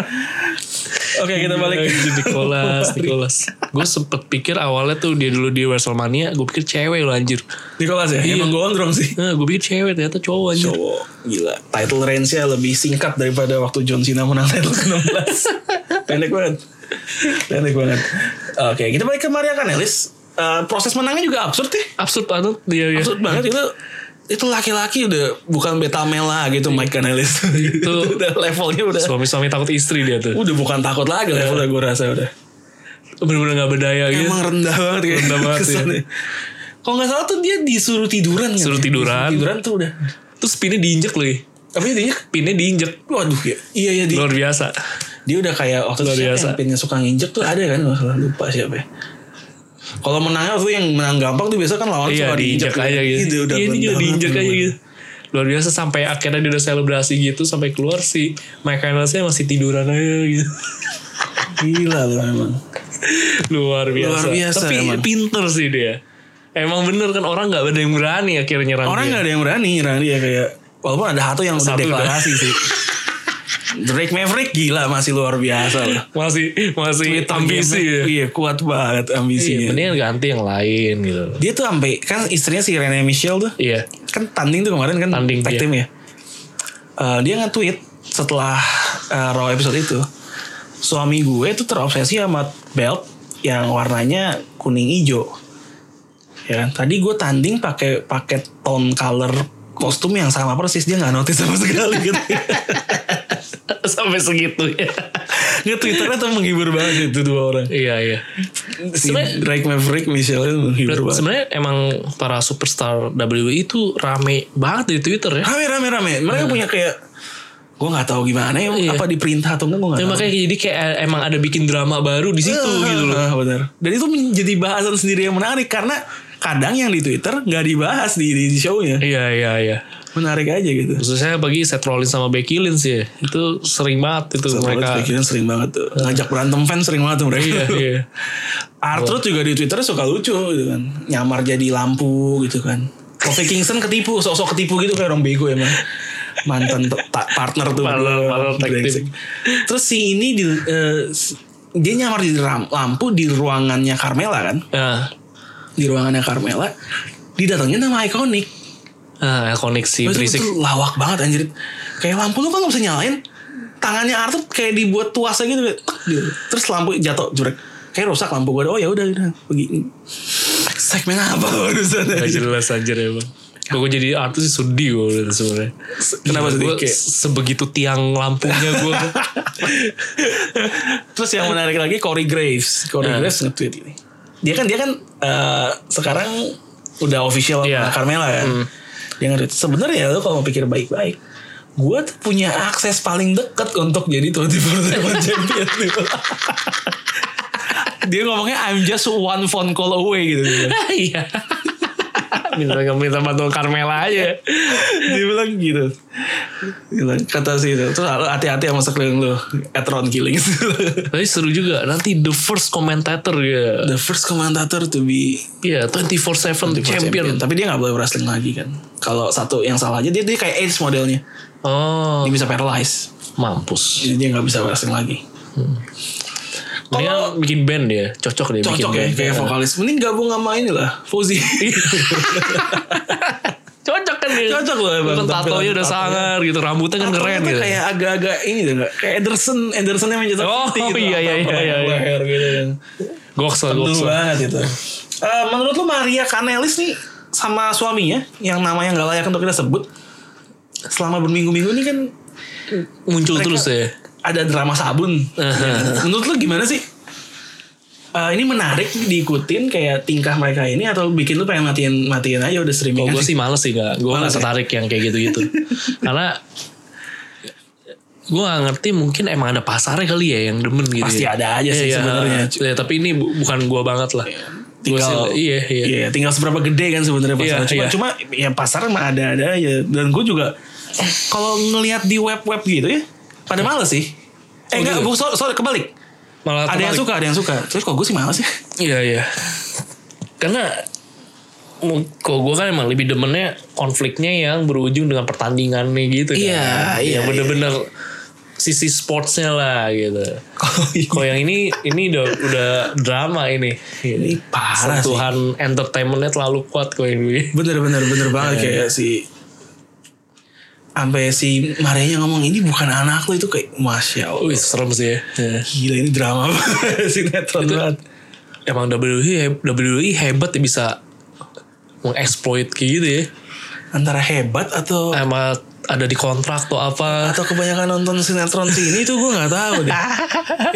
Speaker 1: Iya. Oke kita balik.
Speaker 2: Anjir, Nicholas Nicholas Gue sempet pikir awalnya tuh Dia dulu di Wrestlemania Gue pikir cewek loh anjir
Speaker 1: Nicholas ya emang gue gondrong sih.
Speaker 2: Gue Nah, pikir cewek ternyata cowok anjir
Speaker 1: cowok gila title range-nya lebih singkat daripada waktu John Cena menang title ke-16 pendek banget pendek banget oke kita balik ke Maria Kanelis Eh, proses menangnya juga absurd ya
Speaker 2: Absurd banget dia ya
Speaker 1: absurd banget itu itu laki-laki udah bukan beta male lah gitu Mike Kanelis itu udah levelnya udah
Speaker 2: Suami-suami takut istri dia tuh
Speaker 1: udah bukan takut lagi levelnya gue rasa udah
Speaker 2: Bener-bener gak berdaya gitu
Speaker 1: emang rendah banget kayak
Speaker 2: Rendah banget, ya.
Speaker 1: kesannya. kalau nggak salah tuh dia disuruh tiduran kan?
Speaker 2: Suruh tiduran.
Speaker 1: Disuruh tiduran tuh udah
Speaker 2: Terus pinnya diinjek loh ya.
Speaker 1: apa dia
Speaker 2: Pinnya diinjek
Speaker 1: waduh ya iya iya di
Speaker 2: Luar biasa
Speaker 1: dia udah kayak waktu itu
Speaker 2: Luar
Speaker 1: siapa
Speaker 2: biasa.
Speaker 1: yang pinnya suka nginjek tuh ada kan nggak salah lupa siapa ya kalau menangnya tuh yang menang gampang tuh biasa kan lawan
Speaker 2: Iya
Speaker 1: suka
Speaker 2: diinjek aja gitu
Speaker 1: Itu udah
Speaker 2: Iya ini juga
Speaker 1: bener
Speaker 2: diinjek
Speaker 1: banget
Speaker 2: aja
Speaker 1: tuh.
Speaker 2: gitu Luar biasa sampai akhirnya dia udah selebrasi gitu Sampai keluar si Mike Reynoldsnya masih tiduran aja gitu
Speaker 1: gila loh emang
Speaker 2: Luar biasa.
Speaker 1: Luar biasa,
Speaker 2: Tapi
Speaker 1: emang.
Speaker 2: pinter sih dia. Emang bener kan orang nggak ada yang berani akhirnya nyerang
Speaker 1: orang
Speaker 2: dia.
Speaker 1: nggak ada yang berani nyerang dia kayak walaupun ada satu yang udah
Speaker 2: Satu kan.
Speaker 1: deklarasi sih Drake Maverick gila masih luar biasa loh
Speaker 2: masih masih ambisi.
Speaker 1: Iya,
Speaker 2: ya.
Speaker 1: iya kuat banget ambisinya
Speaker 2: Iya, Mendingan ganti yang lain gitu.
Speaker 1: dia tuh sampai kan istrinya si Renee Michelle tuh
Speaker 2: Iya.
Speaker 1: kan tanding tuh kemarin kan
Speaker 2: Tanding,
Speaker 1: tag
Speaker 2: iya.
Speaker 1: team ya. Eh, dia nge-tweet setelah eh, Raw episode itu, suami gue tuh terobsesi sama belt yang warnanya kuning hijau. Ya, kan? tadi gue tanding pakai pakai tone color kostum yang sama persis dia nggak notice sama sekali gitu.
Speaker 2: Sampai segitu ya.
Speaker 1: Nge-twitternya tuh menghibur banget itu dua orang.
Speaker 2: iya iya.
Speaker 1: Si
Speaker 2: Sebenarnya-
Speaker 1: Drake Maverick Michelle itu menghibur banget.
Speaker 2: Sebenarnya emang para superstar WWE itu rame banget di Twitter ya.
Speaker 1: Rame rame rame. Mereka punya kayak gue nggak tahu gimana ya
Speaker 2: Iya.
Speaker 1: apa diperintah atau enggak gue nggak
Speaker 2: Ya,
Speaker 1: tahu.
Speaker 2: makanya jadi kayak emang ada bikin drama baru di situ
Speaker 1: Ah,
Speaker 2: gitu loh.
Speaker 1: ah, benar. Dan itu menjadi bahasan sendiri yang menarik karena kadang yang di Twitter nggak dibahas di, di show-nya.
Speaker 2: Iya iya iya.
Speaker 1: Menarik aja gitu.
Speaker 2: Khususnya bagi Seth Rollins sama Becky Lynch ya. Itu sering banget itu mereka.
Speaker 1: Mereka pikiran sering banget tuh. Ngajak berantem fans sering banget tuh mereka.
Speaker 2: Iya iya.
Speaker 1: Arthur juga di Twitter suka lucu gitu kan. Nyamar jadi lampu gitu kan. Kofi Kingston ketipu, sok-sok ketipu gitu kayak orang bego emang. Mantan te- ta- partner tuh.
Speaker 2: Partner-
Speaker 1: Berdua,
Speaker 2: partner tag team.
Speaker 1: brengsek. Terus si ini di, eh, s- dia nyamar jadi ram- lampu di ruangannya Carmela kan.
Speaker 2: Nah,
Speaker 1: di ruangannya Carmela didatengin sama ikonik
Speaker 2: Ah, ikonik si
Speaker 1: Itu
Speaker 2: berisik.
Speaker 1: betul lawak banget anjir kayak lampu lu kan gak bisa nyalain tangannya Arthur kayak dibuat tuasa gitu, kayak tek gitu. terus lampu jatuh jurek kayak rusak lampu gue oh ya udah udah pergi segmen apa barusan
Speaker 2: Gak
Speaker 1: anjir
Speaker 2: jelas anjir ya bang. Gue jadi artis sih sedih gue liat sebenarnya.
Speaker 1: Kenapa
Speaker 2: Gila,
Speaker 1: sedih?
Speaker 2: Iya, gua
Speaker 1: Kayak-
Speaker 2: sebegitu tiang lampunya gue.
Speaker 1: Terus yang menarik lagi Corey Graves. Corey
Speaker 2: Nah.
Speaker 1: Graves nge-tweet ini. Dia kan dia kan eh, sekarang udah official sama
Speaker 2: Iya.
Speaker 1: Carmela kan. Dia nge-tweet sebenarnya lu kalau mau pikir baik-baik gue tuh punya akses paling deket untuk jadi 24/7 champion gitu. dia ngomongnya I'm just one phone call away gitu. dia.
Speaker 2: Iya. minta minta bantuan Carmela aja.
Speaker 1: dia bilang gitu. Dia bilang, kata sih itu. Terus lu hati-hati sama sekeliling lu. Atron killing.
Speaker 2: Tapi seru juga. Nanti the first commentator ya.
Speaker 1: The first commentator to be
Speaker 2: Iya, 24/7
Speaker 1: Champion.
Speaker 2: champion.
Speaker 1: Tapi dia gak boleh wrestling lagi kan. Kalau satu yang salah aja dia dia kayak Edge modelnya.
Speaker 2: Oh,
Speaker 1: Dia bisa paralyze.
Speaker 2: mampus.
Speaker 1: Jadi dia gak bisa wrestling lagi.
Speaker 2: Mendingan bikin band dia, cocok dia bikin
Speaker 1: Cocok ya
Speaker 2: band.
Speaker 1: kayak vokalis. Mending gabung sama ini lah. Fauzi.
Speaker 2: Iya, Cocok kan dia.
Speaker 1: Cocok loh emang,
Speaker 2: Kan tatonya
Speaker 1: tampilan
Speaker 2: udah
Speaker 1: tatonya.
Speaker 2: sangar gitu, rambutnya kan keren
Speaker 1: Atau
Speaker 2: gitu.
Speaker 1: Kayak agak-agak ini deh nggak? Kayak Ederson. Edersonnya Manchester
Speaker 2: Oh, iya, iya,
Speaker 1: apa-apa
Speaker 2: iya,
Speaker 1: yang
Speaker 2: iya.
Speaker 1: gitu. leher gitu kan.
Speaker 2: Goksel,
Speaker 1: Betul
Speaker 2: goksel.
Speaker 1: banget itu. Eh, menurut lu Maria Kanelis nih sama suaminya yang namanya nggak layak untuk kita sebut selama berminggu-minggu ini kan
Speaker 2: Muncul terus ya.
Speaker 1: ada drama sabun. Ya. Menurut lu gimana sih? Eh, ini menarik diikutin kayak tingkah mereka ini atau bikin lu pengen matiin matiin aja udah streaming
Speaker 2: Kalau gue
Speaker 1: aja?
Speaker 2: Oh, sih males sih gak, gue
Speaker 1: Males
Speaker 2: gak
Speaker 1: ya?
Speaker 2: tertarik yang kayak gitu-gitu. Karena gue gak ngerti mungkin emang ada pasarnya kali ya yang demen gitu.
Speaker 1: Pasti
Speaker 2: ya.
Speaker 1: ada aja sih
Speaker 2: Iya,
Speaker 1: sebenarnya.
Speaker 2: iya. Ya, tapi ini bu- bukan gue banget lah. Gua
Speaker 1: Tinggal
Speaker 2: sih- iya, iya.
Speaker 1: tinggal seberapa gede kan sebenarnya pasar.
Speaker 2: Iya,
Speaker 1: cuma
Speaker 2: iya.
Speaker 1: cuma ya pasar mah ada ada aja dan gue juga kalau ngelihat di web-web gitu ya pada males sih. Eh
Speaker 2: Oh,
Speaker 1: enggak,
Speaker 2: gitu.
Speaker 1: gue sorry, sorry, kebalik.
Speaker 2: Malah
Speaker 1: Ada yang
Speaker 2: terbalik.
Speaker 1: suka, ada yang suka. Terus kok gue sih males ya.
Speaker 2: Iya iya. Karena mu- kalau gue kan emang lebih demennya konfliknya yang berujung dengan pertandingannya gitu kan.
Speaker 1: Iya, iya,
Speaker 2: Yang bener-bener sisi sportsnya lah gitu. Kalau yang ini ini udah, udah drama ini.
Speaker 1: Iya, Ini parah sih.
Speaker 2: Sentuhan entertainmentnya terlalu kuat kok ini.
Speaker 1: Bener bener bener
Speaker 2: Iya,
Speaker 1: banget kayak si sampai si Maria ngomong ini bukan anak lo itu kayak masya allah
Speaker 2: Wih serem sih ya. Iya.
Speaker 1: gila ini drama banget, sinetron
Speaker 2: Itu-
Speaker 1: banget
Speaker 2: Emang E WWE, WWE hebat ya bisa mengeksploit kayak gitu ya.
Speaker 1: antara hebat atau
Speaker 2: Emang ada di kontrak atau apa.
Speaker 1: atau kebanyakan nonton sinetron sini tuh gue nggak tahu deh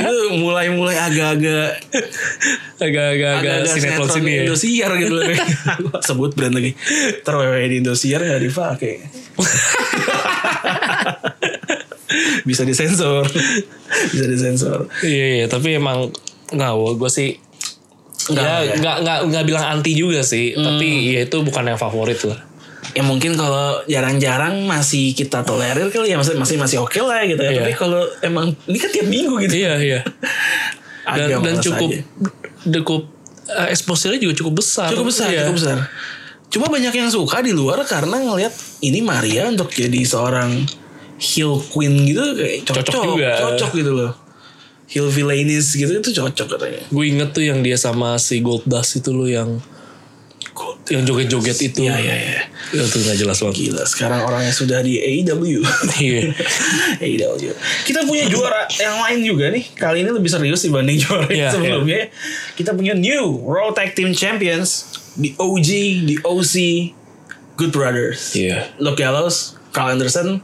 Speaker 1: itu mulai mulai agak-agak
Speaker 2: Agak-agak sinetron sini ya.
Speaker 1: Indosiar gitu loh sebut brand lagi terwewe di Indosiar nggak dipakai bisa disensor bisa disensor
Speaker 2: Iya, iya, tapi emang nggak, gue sih ya nggak
Speaker 1: Nggak,
Speaker 2: nggak nggak nggak bilang anti juga sih,
Speaker 1: Hmm.
Speaker 2: tapi ya itu bukan yang favorit lah.
Speaker 1: ya mungkin kalau jarang-jarang masih kita tolerir kali ya masih masih masih oke lah gitu ya
Speaker 2: Iya.
Speaker 1: tapi kalau emang ini kan tiap minggu gitu
Speaker 2: iya iya. Dan,
Speaker 1: Agak
Speaker 2: dan
Speaker 1: males
Speaker 2: cukup
Speaker 1: aja.
Speaker 2: cukup eh, exposure-nya juga cukup besar.
Speaker 1: cukup besar
Speaker 2: Iya.
Speaker 1: cukup besar cuma banyak yang suka di luar karena ngelihat ini Maria untuk jadi seorang heel queen gitu kayak cocok
Speaker 2: Cocok juga.
Speaker 1: cocok gitu loh heel villainess gitu itu cocok katanya
Speaker 2: Gue inget tuh yang dia sama si Gold Dust itu loh yang yang joget-joget itu.
Speaker 1: Iya iya iya.
Speaker 2: Itu nggak jelas banget.
Speaker 1: Gila sekarang orangnya sudah di E AEW.
Speaker 2: Iya.
Speaker 1: AEW. E Kita punya juara yang lain juga nih. Kali ini lebih serius dibanding juara yang
Speaker 2: Iya,
Speaker 1: sebelumnya. Kita punya new Raw Tag Team Champions, the OG, the OC, Good Brothers.
Speaker 2: Iya.
Speaker 1: Luke Gallows, Carl Anderson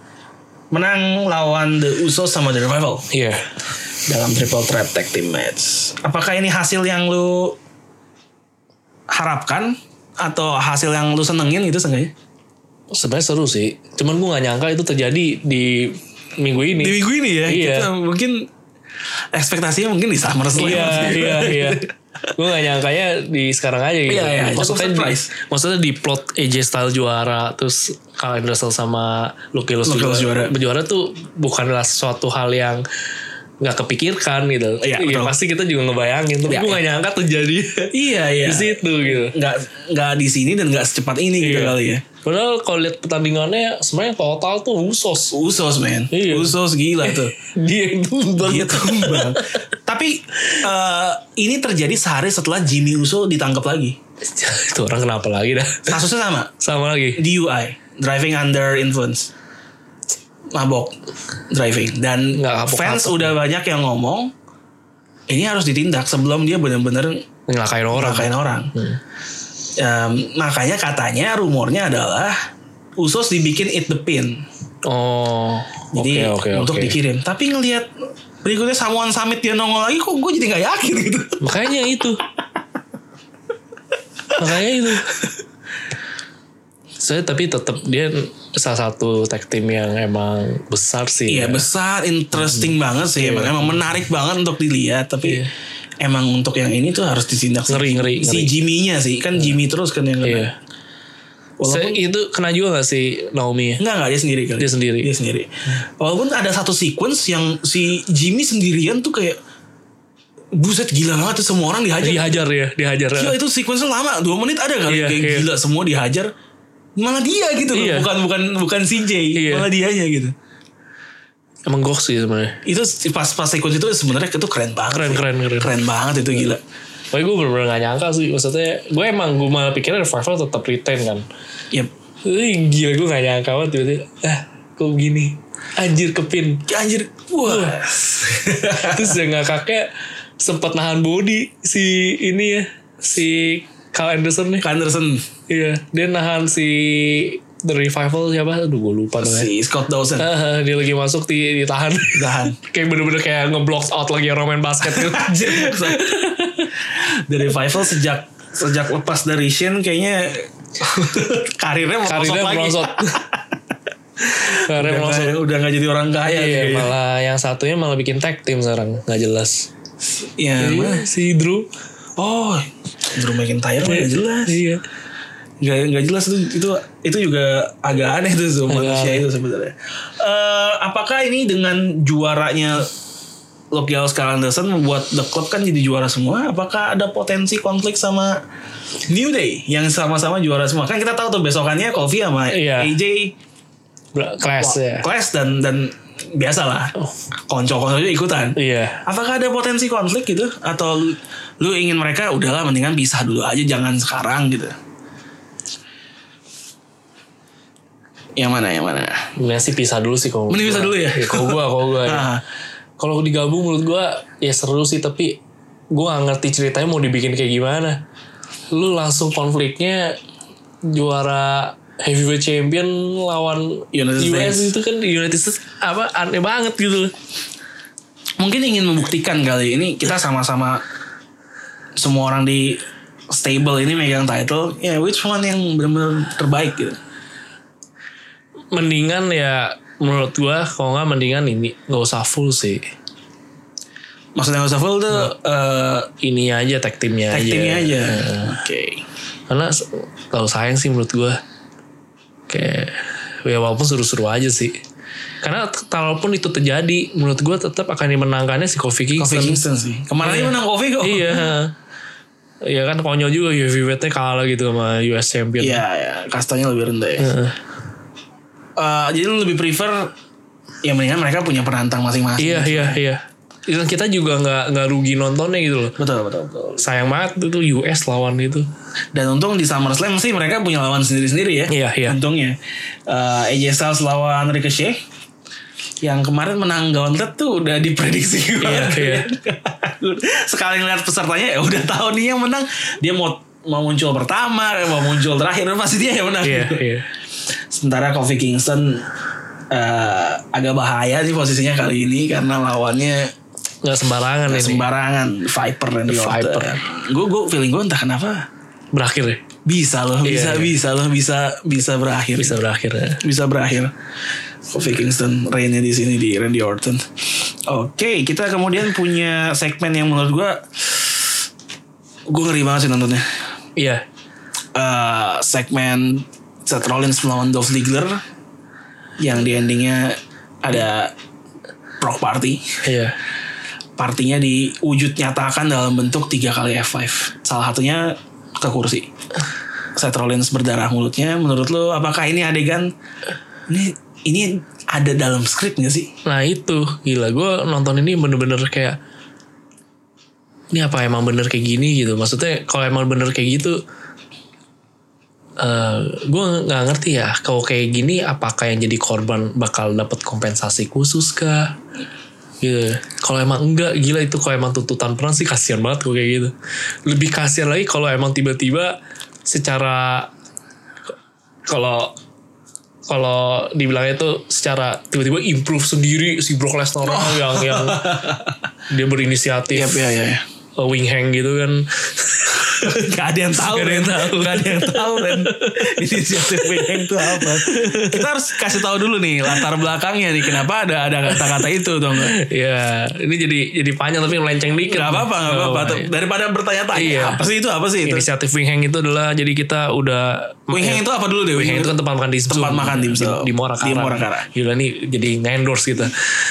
Speaker 1: menang lawan The Usos sama The Revival
Speaker 2: Iya.
Speaker 1: dalam triple threat tag team match. Apakah ini hasil yang lu harapkan atau hasil yang lu senengin gitu sengaja?
Speaker 2: Sebenarnya seru sih. Cuman gue nggak nyangka itu terjadi di minggu ini.
Speaker 1: Di minggu ini ya,
Speaker 2: Iya.
Speaker 1: kita mungkin ekspektasinya mungkin di SummerSlam.
Speaker 2: Iya iya iya. Gue gak nyangkanya di sekarang aja gitu.
Speaker 1: Iya, iya, cukup
Speaker 2: maksudnya di,
Speaker 1: surprise.
Speaker 2: maksudnya di plot AJ Style juara terus Carl Anderson sama Luke Gallows
Speaker 1: Luke Gallows
Speaker 2: juara.
Speaker 1: juara.
Speaker 2: Berjuara tuh bukanlah suatu hal yang nggak kepikirkan gitu.
Speaker 1: Iya, betul.
Speaker 2: pasti kita juga ngebayangin. Tapi
Speaker 1: Iya,
Speaker 2: gue gak nyangka terjadi
Speaker 1: Iya iya.
Speaker 2: di situ gitu.
Speaker 1: Nggak nggak di sini dan nggak secepat ini gitu
Speaker 2: Iya.
Speaker 1: kali ya.
Speaker 2: Padahal kalau lihat pertandingannya sebenarnya total tuh usos.
Speaker 1: Usos man,
Speaker 2: Iya.
Speaker 1: Usos gila tuh.
Speaker 2: Dia yang tumbang.
Speaker 1: Dia tumbang. Tapi eh, ini terjadi sehari setelah Jimmy Uso ditangkap lagi.
Speaker 2: itu orang kenapa lagi dah?
Speaker 1: Kasusnya sama,
Speaker 2: Sama lagi.
Speaker 1: DUI, driving under influence. Mabok driving dan
Speaker 2: Nggak kapok-kapok.
Speaker 1: fans udah banyak yang ngomong ini harus ditindak sebelum dia benar-benar
Speaker 2: Nyelakain orang.
Speaker 1: ngelakain orang. Em, makanya katanya rumornya adalah Usos dibikin eat the pin.
Speaker 2: Oh, oke
Speaker 1: Jadi
Speaker 2: oke
Speaker 1: untuk
Speaker 2: oke.
Speaker 1: dikirim. Tapi ngelihat berikutnya Samuan Summit dia nongol lagi kok gue jadi nggak yakin gitu.
Speaker 2: Makanya itu. Makanya itu. Saya tapi tetap dia salah satu tag team yang emang besar sih.
Speaker 1: Iya
Speaker 2: ya.
Speaker 1: besar,
Speaker 2: Hmm.
Speaker 1: interesting banget sih.
Speaker 2: Iya,
Speaker 1: Emang, emang menarik banget untuk dilihat. Tapi emang untuk yang ini tuh harus ditindak.
Speaker 2: Ngeri, ngeri,
Speaker 1: Si
Speaker 2: ngeri.
Speaker 1: Jimmy-nya sih kan Jimmy terus kan yang
Speaker 2: Iya.
Speaker 1: kena.
Speaker 2: Saya- itu kena juga gak sih Naomi? ya?
Speaker 1: Enggak enggak dia sendiri kali.
Speaker 2: Dia sendiri.
Speaker 1: Dia sendiri. Walaupun ada satu sequence yang si Jimmy sendirian tuh kayak buset gila banget tuh semua orang dihajar.
Speaker 2: Dihajar ya, dihajar.
Speaker 1: Gila, itu sequence lama, 2 menit ada kali
Speaker 2: Iya,
Speaker 1: kayak
Speaker 2: iya.
Speaker 1: gila semua dihajar. Malah dia gitu loh,
Speaker 2: Iya.
Speaker 1: bukan bukan bukan CJ,
Speaker 2: Iya.
Speaker 1: malah dianya gitu.
Speaker 2: Emang gok sih sebenarnya.
Speaker 1: Itu pas pas sequence itu sebenarnya itu keren banget.
Speaker 2: Keren, keren, keren.
Speaker 1: Keren banget itu gila.
Speaker 2: Tapi gue bener-bener gak nyangka sih. Maksudnya gue emang gue malah pikirnya Revival tetap retain kan.
Speaker 1: Ya
Speaker 2: Ih, gila gue gak nyangka banget tiba-tiba. Ah kok begini? Anjir kepin.
Speaker 1: Ya, anjir. Wah.
Speaker 2: Terus yang ngakaknya sempat nahan body si ini ya. Si Carl Anderson nih.
Speaker 1: Anderson
Speaker 2: Iya. Dia nahan si The Revival siapa? Aduh gue lupa namanya.
Speaker 1: si Scott Dawson
Speaker 2: Ah, dia lagi masuk di, ditahan.
Speaker 1: tahan.
Speaker 2: kayak bener-bener kayak ngeblock out lagi orang main basket gitu.
Speaker 1: Anjir, saya- The Revival sejak sejak lepas dari Shin kayaknya karirnya merosot
Speaker 2: Karirnya
Speaker 1: lagi.
Speaker 2: merosot.
Speaker 1: Udah gitu ya.
Speaker 2: Karirnya merosot.
Speaker 1: nggak- udah nggak jadi orang kaya
Speaker 2: Iya,
Speaker 1: dia.
Speaker 2: malah yang satunya malah bikin tag team sekarang nggak jelas.
Speaker 1: Iya,
Speaker 2: Iya,
Speaker 1: mah.
Speaker 2: si Drew.
Speaker 1: Oh, Drew McIntyre mah nggak jelas.
Speaker 2: Iya.
Speaker 1: Nggak nggak jelas itu itu itu juga agak aneh tuh tuh, manusia itu sebenarnya. Eh, apakah ini dengan juaranya Lokiaus Anderson membuat the club kan jadi juara semua. Apakah ada potensi konflik sama New Day yang sama-sama juara semua? Kan kita tahu tuh besokannya Kofi sama
Speaker 2: Iya.
Speaker 1: AJ
Speaker 2: Bla- Clash ya.
Speaker 1: Clash dan dan biasalah konco-konco juga ikutan.
Speaker 2: Iya.
Speaker 1: Apakah ada potensi konflik gitu? Atau lu, lu ingin mereka udahlah mendingan pisah dulu aja jangan sekarang gitu? Yang mana yang mana?
Speaker 2: Mendingan sih pisah dulu sih kalau.
Speaker 1: Mending
Speaker 2: gua.
Speaker 1: pisah dulu ya?
Speaker 2: Iya, Kalau gua, kalau gua. ya.
Speaker 1: Nah,
Speaker 2: Kalau digabung menurut gua ya seru sih tapi gua gak ngerti ceritanya mau dibikin kayak gimana. Lu langsung konfliknya juara heavyweight champion lawan
Speaker 1: United
Speaker 2: US
Speaker 1: States.
Speaker 2: itu kan United States apa aneh banget gitu loh.
Speaker 1: mungkin ingin membuktikan kali ini kita sama-sama semua orang di stable ini megang title ya which one yang benar-benar terbaik gitu
Speaker 2: mendingan ya menurut gua kalau nggak mendingan ini nggak usah full sih
Speaker 1: maksudnya nggak usah full tuh
Speaker 2: Nah.
Speaker 1: eh,
Speaker 2: ini aja tag teamnya
Speaker 1: tag teamnya
Speaker 2: Iya,
Speaker 1: aja oke
Speaker 2: karena kalau sayang sih menurut gua kayak ya walaupun seru-seru aja sih karena t- kalaupun itu terjadi menurut gua tetap akan dimenangkannya si Kofi
Speaker 1: Kofi
Speaker 2: Kingston
Speaker 1: Kingston sih kemarin aja menang Kofi kok
Speaker 2: iya Iya kan konyol juga heavyweight-nya kalah gitu sama US Champion
Speaker 1: Iya, ya, kastanya lebih rendah ya.
Speaker 2: Gitu. Heeh.
Speaker 1: Eh, jadi lu lebih prefer ya mendingan mereka punya penantang masing-masing.
Speaker 2: iya iya iya Itu kan kita juga nggak nggak rugi nontonnya gitu loh
Speaker 1: Betul, betul, betul.
Speaker 2: sayang banget itu US lawan itu
Speaker 1: Dan untung di SummerSlam sih mereka punya lawan sendiri-sendiri ya.
Speaker 2: Iya, iya.
Speaker 1: Untungnya. Eh, AJ Styles lawan Ricochet. Yang kemarin menang gauntlet tuh udah diprediksi banget.
Speaker 2: iya.
Speaker 1: Sekali ngeliat pesertanya ya udah tahu nih yang menang. Dia mau mau muncul pertama, mau muncul terakhir, pasti dia yang menang.
Speaker 2: iya iya
Speaker 1: Sementara Kofi Kingston eh, agak bahaya sih posisinya kali ini karena lawannya
Speaker 2: nggak sembarangan ini
Speaker 1: sembarangan Viper dan
Speaker 2: Viper.
Speaker 1: Gue gue feeling gue entah kenapa
Speaker 2: berakhir ya
Speaker 1: bisa loh, bisa
Speaker 2: Iya, iya.
Speaker 1: bisa loh, bisa bisa berakhir,
Speaker 2: bisa berakhir ya.
Speaker 1: bisa berakhir. Kofi Kingston reignnya di sini di Randy Orton. Oke, kita kemudian punya segmen yang menurut gue gue ngeri banget sih nontonnya.
Speaker 2: iya
Speaker 1: eh segmen Seth Rollins melawan Dolph Ziggler yang di endingnya ada rock party.
Speaker 2: iya
Speaker 1: Partinya diwujud nyatakan dalam bentuk tiga kali F5. Salah satunya ke kursi. Seth Rollins berdarah mulutnya. Menurut lo apakah ini adegan ini ini ada dalam skrip gak sih?
Speaker 2: nah itu gila gue nonton ini bener-bener kayak ini apa emang bener kayak gini gitu maksudnya kalau emang bener kayak gitu eh gue nggak ngerti ya kalau kayak gini apakah yang jadi korban bakal dapat kompensasi khusus kah gitu kalau emang enggak gila itu kalau emang tuntutan perang sih kasihan banget kalau kayak gitu lebih kasihan lagi kalau emang tiba-tiba secara kalau kalau dibilangnya itu secara tiba-tiba improve sendiri si Brock Lesnar yang yang dia berinisiatif
Speaker 1: Iya, iya, iya.
Speaker 2: uh, wing hang gitu kan
Speaker 1: Gak ada yang tahu.
Speaker 2: Gak ada yang
Speaker 1: Ren.
Speaker 2: tahu.
Speaker 1: Gak ada yang tahu dan inisiatif Weekend itu apa. Kita harus kasih tahu dulu nih latar belakangnya nih kenapa ada ada kata-kata itu dong.
Speaker 2: ya ini jadi jadi panjang tapi melenceng dikit
Speaker 1: Gak apa-apa, gak apa-apa. gitu.
Speaker 2: iya.
Speaker 1: Daripada bertanya-tanya
Speaker 2: Iya.
Speaker 1: apa sih itu apa sih itu.
Speaker 2: inisiatif wing hang itu adalah jadi kita udah
Speaker 1: Wing Hang itu apa dulu deh?
Speaker 2: iya. Wing Hang itu kan tempat makan dimsum.
Speaker 1: Tempat makan dimsum.
Speaker 2: Di, di Morakara.
Speaker 1: Di Morakara.
Speaker 2: Gila nih jadi endorse kita.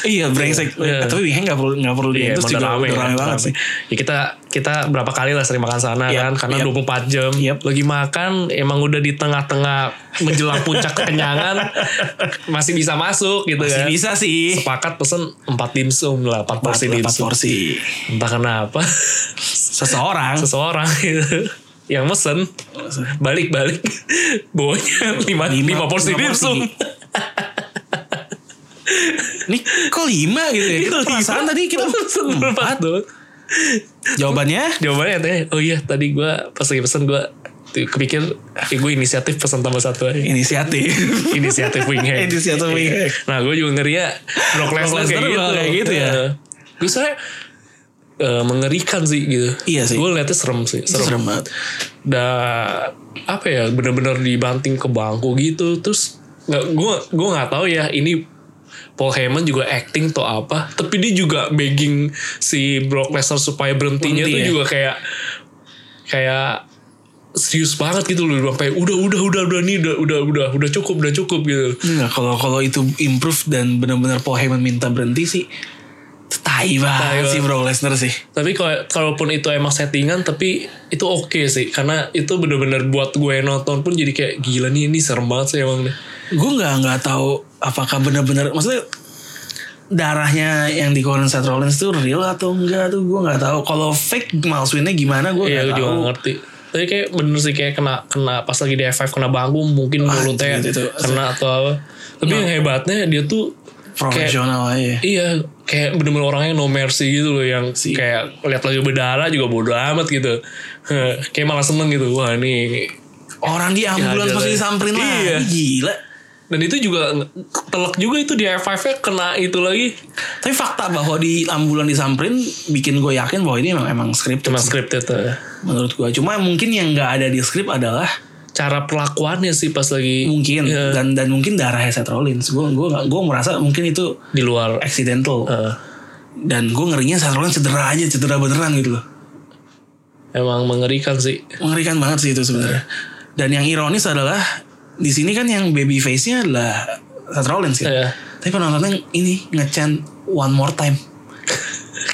Speaker 1: Iya brengsek.
Speaker 2: Iya.
Speaker 1: Tapi Wing Hang gak perlu gak perlu di
Speaker 2: Iya,
Speaker 1: endorse
Speaker 2: emang
Speaker 1: juga
Speaker 2: udah rame,
Speaker 1: udah
Speaker 2: kan,
Speaker 1: rame banget
Speaker 2: rame.
Speaker 1: sih. Iya,
Speaker 2: Ya kita kita berapa kali lah sering makan sana
Speaker 1: Yap,
Speaker 2: kan karena
Speaker 1: yap.
Speaker 2: 24 jam
Speaker 1: Yap.
Speaker 2: lagi makan emang udah di tengah-tengah menjelang puncak kekenyangan masih bisa masuk gitu
Speaker 1: Masih
Speaker 2: kan.
Speaker 1: bisa sih.
Speaker 2: Sepakat pesen 4 dimsum lah, 4
Speaker 1: Empat- empat
Speaker 2: porsi dimsum.
Speaker 1: porsi.
Speaker 2: Entah kenapa
Speaker 1: Seseorang.
Speaker 2: seseorang gitu yang mesen balik-balik bawanya 5
Speaker 1: Lima-
Speaker 2: porsi
Speaker 1: lima porsi.
Speaker 2: dimsum.
Speaker 1: Nih kok lima gitu
Speaker 2: Iya,
Speaker 1: ya? Kita perasaan tadi kita
Speaker 2: Pesen berempat doang.
Speaker 1: jawabannya
Speaker 2: jawabannya teh oh iya tadi gue pas lagi pesen gue kepikir eh, gue inisiatif pesan tambah satu aja
Speaker 1: inisiatif.
Speaker 2: inisiatif wing hang
Speaker 1: Inisiatif wing hang.
Speaker 2: nah gue juga ngeri ya Brock Lesnar
Speaker 1: Lesnar
Speaker 2: kayak gitu
Speaker 1: bakal kayak gitu ya?
Speaker 2: gue saya eh, mengerikan sih gitu
Speaker 1: Iya sih.
Speaker 2: gue liatnya serem sih serem,
Speaker 1: Serem banget.
Speaker 2: Dah, apa ya bener-bener dibanting ke bangku gitu terus nggak gue gue nggak tahu ya ini Paul Heyman juga acting atau apa tapi dia juga begging si Brock Lesnar supaya berhentinya
Speaker 1: Berhenti
Speaker 2: tuh
Speaker 1: ya?
Speaker 2: juga kayak kayak serius banget gitu loh sampai udah udah udah udah nih udah udah udah udah cukup udah cukup gitu
Speaker 1: Enggak, kalau kalau itu improve dan benar-benar Paul Heyman minta berhenti sih. itu Tai banget
Speaker 2: banget.
Speaker 1: sih Brock Lesnar sih.
Speaker 2: tapi kalau kalaupun itu emang settingan tapi itu oke sih karena itu bener-bener buat gue yang nonton pun jadi kayak gila nih ini serem banget sih emang nih
Speaker 1: Gue nggak nggak tahu apakah benar-benar maksudnya darahnya yang di Conan Seth Rollins tuh real atau enggak tuh gue nggak tahu. Kalau fake malsuinnya gimana gue nggak
Speaker 2: Iya, gue juga
Speaker 1: tahu.
Speaker 2: gak ngerti. Tapi kayak bener sih kayak kena kena pas lagi di F5 kena bangku mungkin
Speaker 1: Ah,
Speaker 2: mulutnya
Speaker 1: itu- itu- itu.
Speaker 2: kena atau apa. Tapi yang hebatnya dia tuh kayak
Speaker 1: Iya. Profesional aja.
Speaker 2: iya kayak bener-bener orangnya no mercy gitu loh yang kayak lihat lagi berdarah juga bodo amat gitu. Heh, kayak malah seneng gitu. Wah, ini
Speaker 1: Orang di ambulans
Speaker 2: Iya,
Speaker 1: pasti
Speaker 2: iya.
Speaker 1: disamperin
Speaker 2: Iya.
Speaker 1: lagi gila.
Speaker 2: dan itu juga nge- telak juga itu di F5-nya kena itu lagi.
Speaker 1: Tapi fakta bahwa di ambulan disamperin bikin gue yakin bahwa ini emang emang scripted
Speaker 2: Cuma scripted eh. tuh.
Speaker 1: menurut gue. Cuma mungkin yang nggak ada di skrip adalah
Speaker 2: Cara perlakuannya sih pas lagi
Speaker 1: mungkin
Speaker 2: Iya,
Speaker 1: dan dan mungkin darahnya Seth Rollins. Gue gue gue merasa mungkin itu
Speaker 2: di luar
Speaker 1: accidental.
Speaker 2: Eh,
Speaker 1: Dan gue ngerinya Seth Rollins cedera aja cedera beneran gitu loh.
Speaker 2: emang mengerikan sih.
Speaker 1: Mengerikan banget sih itu sebenarnya.
Speaker 2: Iya.
Speaker 1: Dan yang ironis adalah di sini kan yang baby face-nya adalah Seth Rollins kan.
Speaker 2: Iya.
Speaker 1: Tapi penontonnya ini ngechan one more time.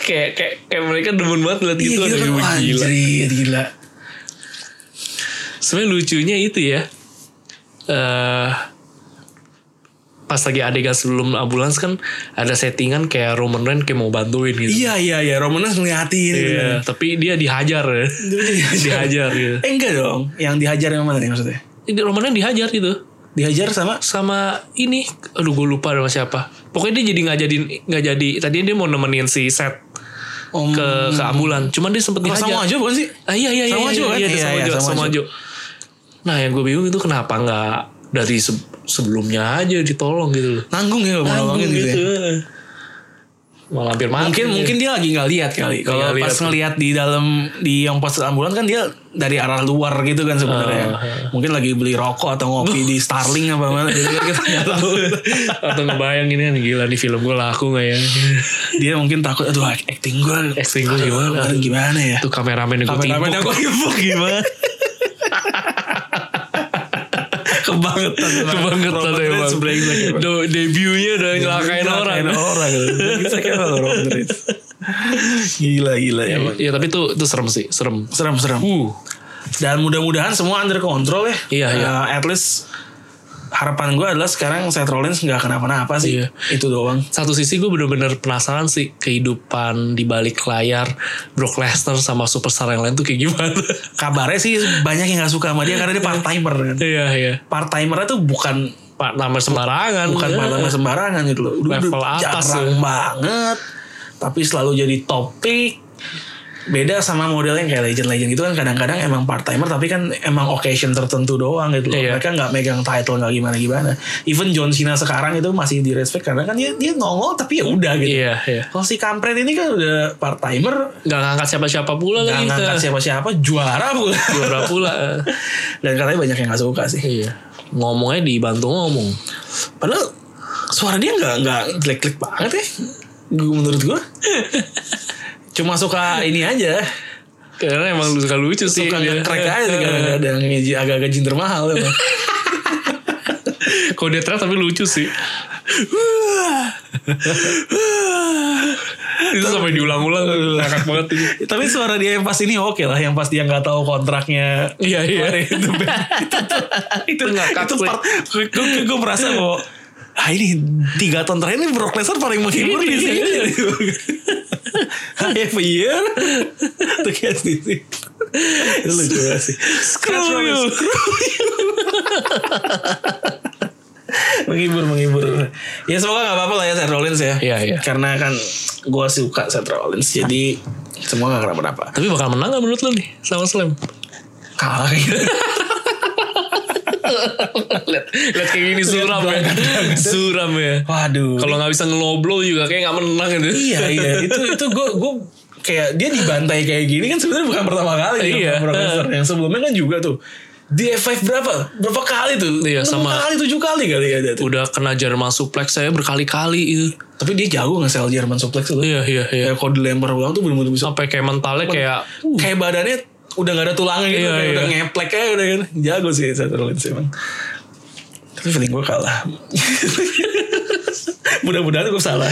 Speaker 2: kayak kayak kayak mereka demen banget liat
Speaker 1: Iya
Speaker 2: gitu ada
Speaker 1: gitu
Speaker 2: yang
Speaker 1: kan.
Speaker 2: gila. Iya.
Speaker 1: Anjir, gila.
Speaker 2: Sebenarnya lucunya itu ya. eh pas lagi adegan sebelum ambulans kan ada settingan kayak Roman Reigns kayak mau bantuin gitu.
Speaker 1: Iya iya iya Romanes ngeliatin gitu kan.
Speaker 2: tapi dia dihajar ya.
Speaker 1: Dia
Speaker 2: Iya. dihajar gitu.
Speaker 1: Eh enggak dong, yang dihajar yang mana nih maksudnya?
Speaker 2: Ini Roman Reigns dihajar gitu
Speaker 1: Dihajar sama
Speaker 2: sama ini aduh gue lupa sama siapa pokoknya dia jadi nggak jadi nggak jadi tadinya dia mau nemenin si Seth
Speaker 1: Om
Speaker 2: ke ke ambulan cuman dia sempet
Speaker 1: Oh,
Speaker 2: dihajar
Speaker 1: Hmm. sama aja bukan sih?
Speaker 2: Ah, iya iya iya
Speaker 1: Sama
Speaker 2: iya,
Speaker 1: Jo, kan?
Speaker 2: iya, iya,
Speaker 1: Iya,
Speaker 2: sama
Speaker 1: iya,
Speaker 2: Jo,
Speaker 1: sama
Speaker 2: sama
Speaker 1: Jo.
Speaker 2: Jo. Nah yang gue bingung itu kenapa nggak dari se- sebelumnya aja ditolong gitu loh.
Speaker 1: Nanggung ya kalau mau nolongin gitu. ya.
Speaker 2: Malah hampir mati.
Speaker 1: Mungkin mungkin dia lagi nggak lihat kali. Kalau
Speaker 2: Nggak
Speaker 1: pas
Speaker 2: Iya. lihat.
Speaker 1: ngelihat di dalam di yang pos ambulan kan dia dari arah luar gitu kan sebenarnya.
Speaker 2: Ah,
Speaker 1: Mungkin lagi beli rokok atau ngopi di Starling apa mana gitu kan kita nggak tahu.
Speaker 2: Atau ngebayang ini kan gila di film gue laku nggak ya?
Speaker 1: Dia mungkin takut aduh acting gue
Speaker 2: Acting gua gimana?
Speaker 1: Gimana ya?
Speaker 2: Itu kameramen yang gue
Speaker 1: Kameramen yang
Speaker 2: timpuk.
Speaker 1: gue timpuk gimana? Kebangetan
Speaker 2: Kebangetan
Speaker 1: Robert
Speaker 2: emang.
Speaker 1: Reeds brengsek, emang.
Speaker 2: Do, debutnya udah nyelakain orang.
Speaker 1: Nyelakain orang. gitu. Bisa kayak apa Robert Reeds? Gila gila ya. Bang.
Speaker 2: Iya tapi itu itu serem sih, serem.
Speaker 1: Serem serem.
Speaker 2: Uh,
Speaker 1: Dan mudah-mudahan semua under control ya.
Speaker 2: Iya, iya.
Speaker 1: Eh, at least harapan gue adalah sekarang Seth Rollins nggak kenapa-napa sih.
Speaker 2: Iya.
Speaker 1: Itu doang.
Speaker 2: satu sisi gue bener-bener penasaran sih kehidupan di balik layar Brock Lesnar sama superstar yang lain tuh kayak gimana.
Speaker 1: Kabarnya sih banyak yang nggak suka sama dia karena dia part timer kan.
Speaker 2: iya iya.
Speaker 1: Part timernya tuh bukan
Speaker 2: Pak nama sembarangan.
Speaker 1: bukan
Speaker 2: Iya.
Speaker 1: part timer sembarangan gitu loh. Udah,
Speaker 2: Level ya.
Speaker 1: udah
Speaker 2: atas
Speaker 1: jarang banget. Tapi selalu jadi topik beda sama modelnya kayak legend-legend gitu kan kadang-kadang emang part timer tapi kan emang occasion tertentu doang gitu loh.
Speaker 2: Iya.
Speaker 1: Mereka nggak megang title nggak gimana gimana. Even John Cena sekarang itu masih di respect karena kan dia dia nongol tapi ya udah gitu.
Speaker 2: Iya, iya.
Speaker 1: Kalau si kampret ini kan udah part timer
Speaker 2: Nggak ngangkat siapa-siapa pula
Speaker 1: nggak
Speaker 2: lagi. Iya.
Speaker 1: ngangkat siapa-siapa juara pula.
Speaker 2: Juara pula.
Speaker 1: Dan katanya banyak yang nggak suka sih.
Speaker 2: Iya. Ngomongnya dibantu ngomong.
Speaker 1: Padahal suara dia nggak nggak klik-klik banget ya. Gu- Menurut gue cuma suka ini aja
Speaker 2: Karena emang suka lucu sih. Iya.
Speaker 1: suka
Speaker 2: dia.
Speaker 1: ngekrek aja sih kadang-kadang Ngeji- agak-agak jinder mahal emang.
Speaker 2: Kode teriak tapi lucu sih. itu sampai diulang-ulang ngakak banget itu.
Speaker 1: tapi suara dia yang pas ini oke lah yang pas dia nggak tahu kontraknya
Speaker 2: Iya iya.
Speaker 1: itu itu
Speaker 2: ngakak
Speaker 1: itu
Speaker 2: sih.
Speaker 1: part gue, gue- gue merasa bahwa ah ini tiga tahun terakhir ini Brock Lesnar paling menghibur di sini I have Iya. a year to get this in. itu lucu banget sih
Speaker 2: Screw you.
Speaker 1: menghibur menghibur ya semoga nggak apa-apa lah ya Seth Rollins ya
Speaker 2: Iya, iya.
Speaker 1: karena kan gue suka Seth Rollins jadi semua nggak kenapa-napa
Speaker 2: Tapi bakal menang gak menurut lo nih sama Slam?
Speaker 1: kalah kayaknya
Speaker 2: Lihat lihat kayak gini suram ya. Suram ya.
Speaker 1: waduh
Speaker 2: Kalau nggak bisa ngeloblo juga kayak nggak menang gitu.
Speaker 1: iya iya itu itu gue gue kayak dia dibantai kayak gini kan sebenarnya bukan pertama kali dia
Speaker 2: Iya.
Speaker 1: sama Brock Lesnar. yang sebelumnya kan juga tuh di F5 berapa berapa kali tuh
Speaker 2: Iya,
Speaker 1: Enam
Speaker 2: sama.
Speaker 1: kali tujuh kali kali ya dia tuh.
Speaker 2: Udah kena Jerman suplex saya berkali-kali itu.
Speaker 1: tapi dia jago nggak sel Jerman suplex tuh
Speaker 2: Iya iya iya.
Speaker 1: kayak kalau dilempar ulang tuh bener-bener bisa
Speaker 2: Sampai kayak mentalnya kayak
Speaker 1: kayak badannya udah gak ada tulangnya gitu
Speaker 2: Iya,
Speaker 1: kayak
Speaker 2: iya.
Speaker 1: udah ngeplek aja udah kan jago sih Seth Rollins emang tapi feeling gue kalah mudah-mudahan gue salah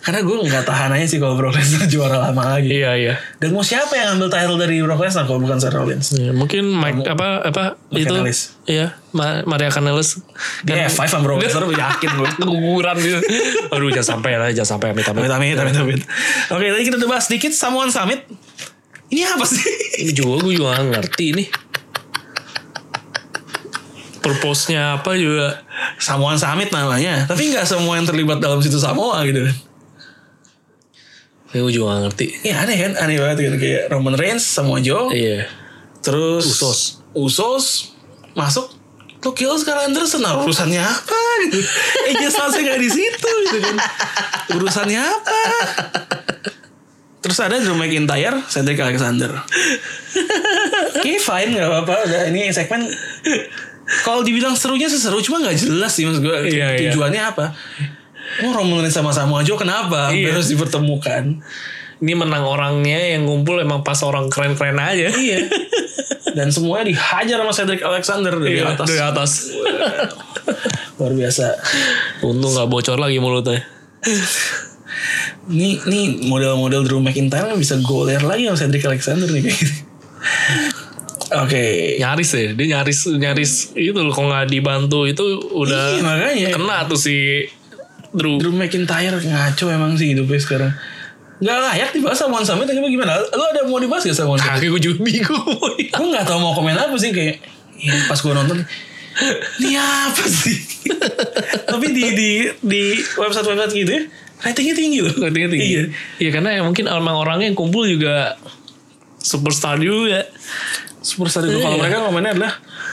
Speaker 1: karena gue nggak tahan aja sih kalau Brock Lesnar juara lama lagi
Speaker 2: iya iya.
Speaker 1: dan mau siapa yang ambil title dari Brock Lesnar kalau bukan Seth Rollins
Speaker 2: Ya, mungkin Mike apa apa
Speaker 1: Mike
Speaker 2: itu
Speaker 1: Kanellis.
Speaker 2: iya Ma- Maria Kanellis
Speaker 1: dia F5 sama Brock Lesnar gue yakin gue
Speaker 2: keguguran gitu. Aduh jangan sampai lah, jangan sampai amit amit.
Speaker 1: amit amit amit amit oke tadi kita udah bahas sedikit Samoan Summit ini apa sih
Speaker 2: Ini juga gue juga gak ngerti nih. Purpose-nya apa juga
Speaker 1: Samoan Summit namanya tapi nggak semua yang terlibat dalam situ Samoa gitu kan
Speaker 2: Ini gue juga gak ngerti
Speaker 1: Iya aneh kan, aneh banget kan kayak Roman Reigns, Samoa Joe,
Speaker 2: Iya
Speaker 1: terus
Speaker 2: Usos.
Speaker 1: Usos masuk lo kill Carl Anderson, nah, urusannya apa gitu? Eh just nggak di situ gitu kan? Urusannya apa? Terus ada Drew McIntyre, Cedric Alexander. Oke fine nggak apa-apa. Udah ini segmen kalau dibilang serunya sih seru, cuma nggak jelas sih mas gue
Speaker 2: Iya, iya.
Speaker 1: tujuannya apa. Oh Roman Reigns sama Samoa Joe kenapa Sampai
Speaker 2: Iya.
Speaker 1: harus dipertemukan?
Speaker 2: Ini menang orangnya yang ngumpul emang pas orang keren-keren aja
Speaker 1: Iya. Dan semuanya dihajar sama Cedric Alexander dari
Speaker 2: Iya,
Speaker 1: atas.
Speaker 2: Dari atas
Speaker 1: Luar biasa.
Speaker 2: Untung gak bocor lagi mulutnya
Speaker 1: Nih, nih model-model Drew McIntyre bisa goler lagi sama Cedric Alexander nih kayak gini. Oke.
Speaker 2: Nyaris ya Dia nyaris Nyaris itu loh Kalau gak dibantu itu
Speaker 1: Iya,
Speaker 2: udah
Speaker 1: makanya.
Speaker 2: Kena tuh si Drew
Speaker 1: Drew McIntyre ngaco emang sih hidupnya sekarang. Gak layak dibahas sama One Summit tapi gimana? Lu ada mau dibahas gak sama One Summit?
Speaker 2: Kaki gue juga bingung
Speaker 1: gue gak tau mau komen apa sih kayak ya, pas gue nonton ini apa sih? tapi di di di website website gitu ya ratingnya tinggi loh.
Speaker 2: Ngerti ngerti
Speaker 1: Iya.
Speaker 2: Iya karena ya mungkin orang orangnya yang kumpul juga Superstar juga
Speaker 1: superstar itu kalau
Speaker 2: Iya.
Speaker 1: mereka komennya adalah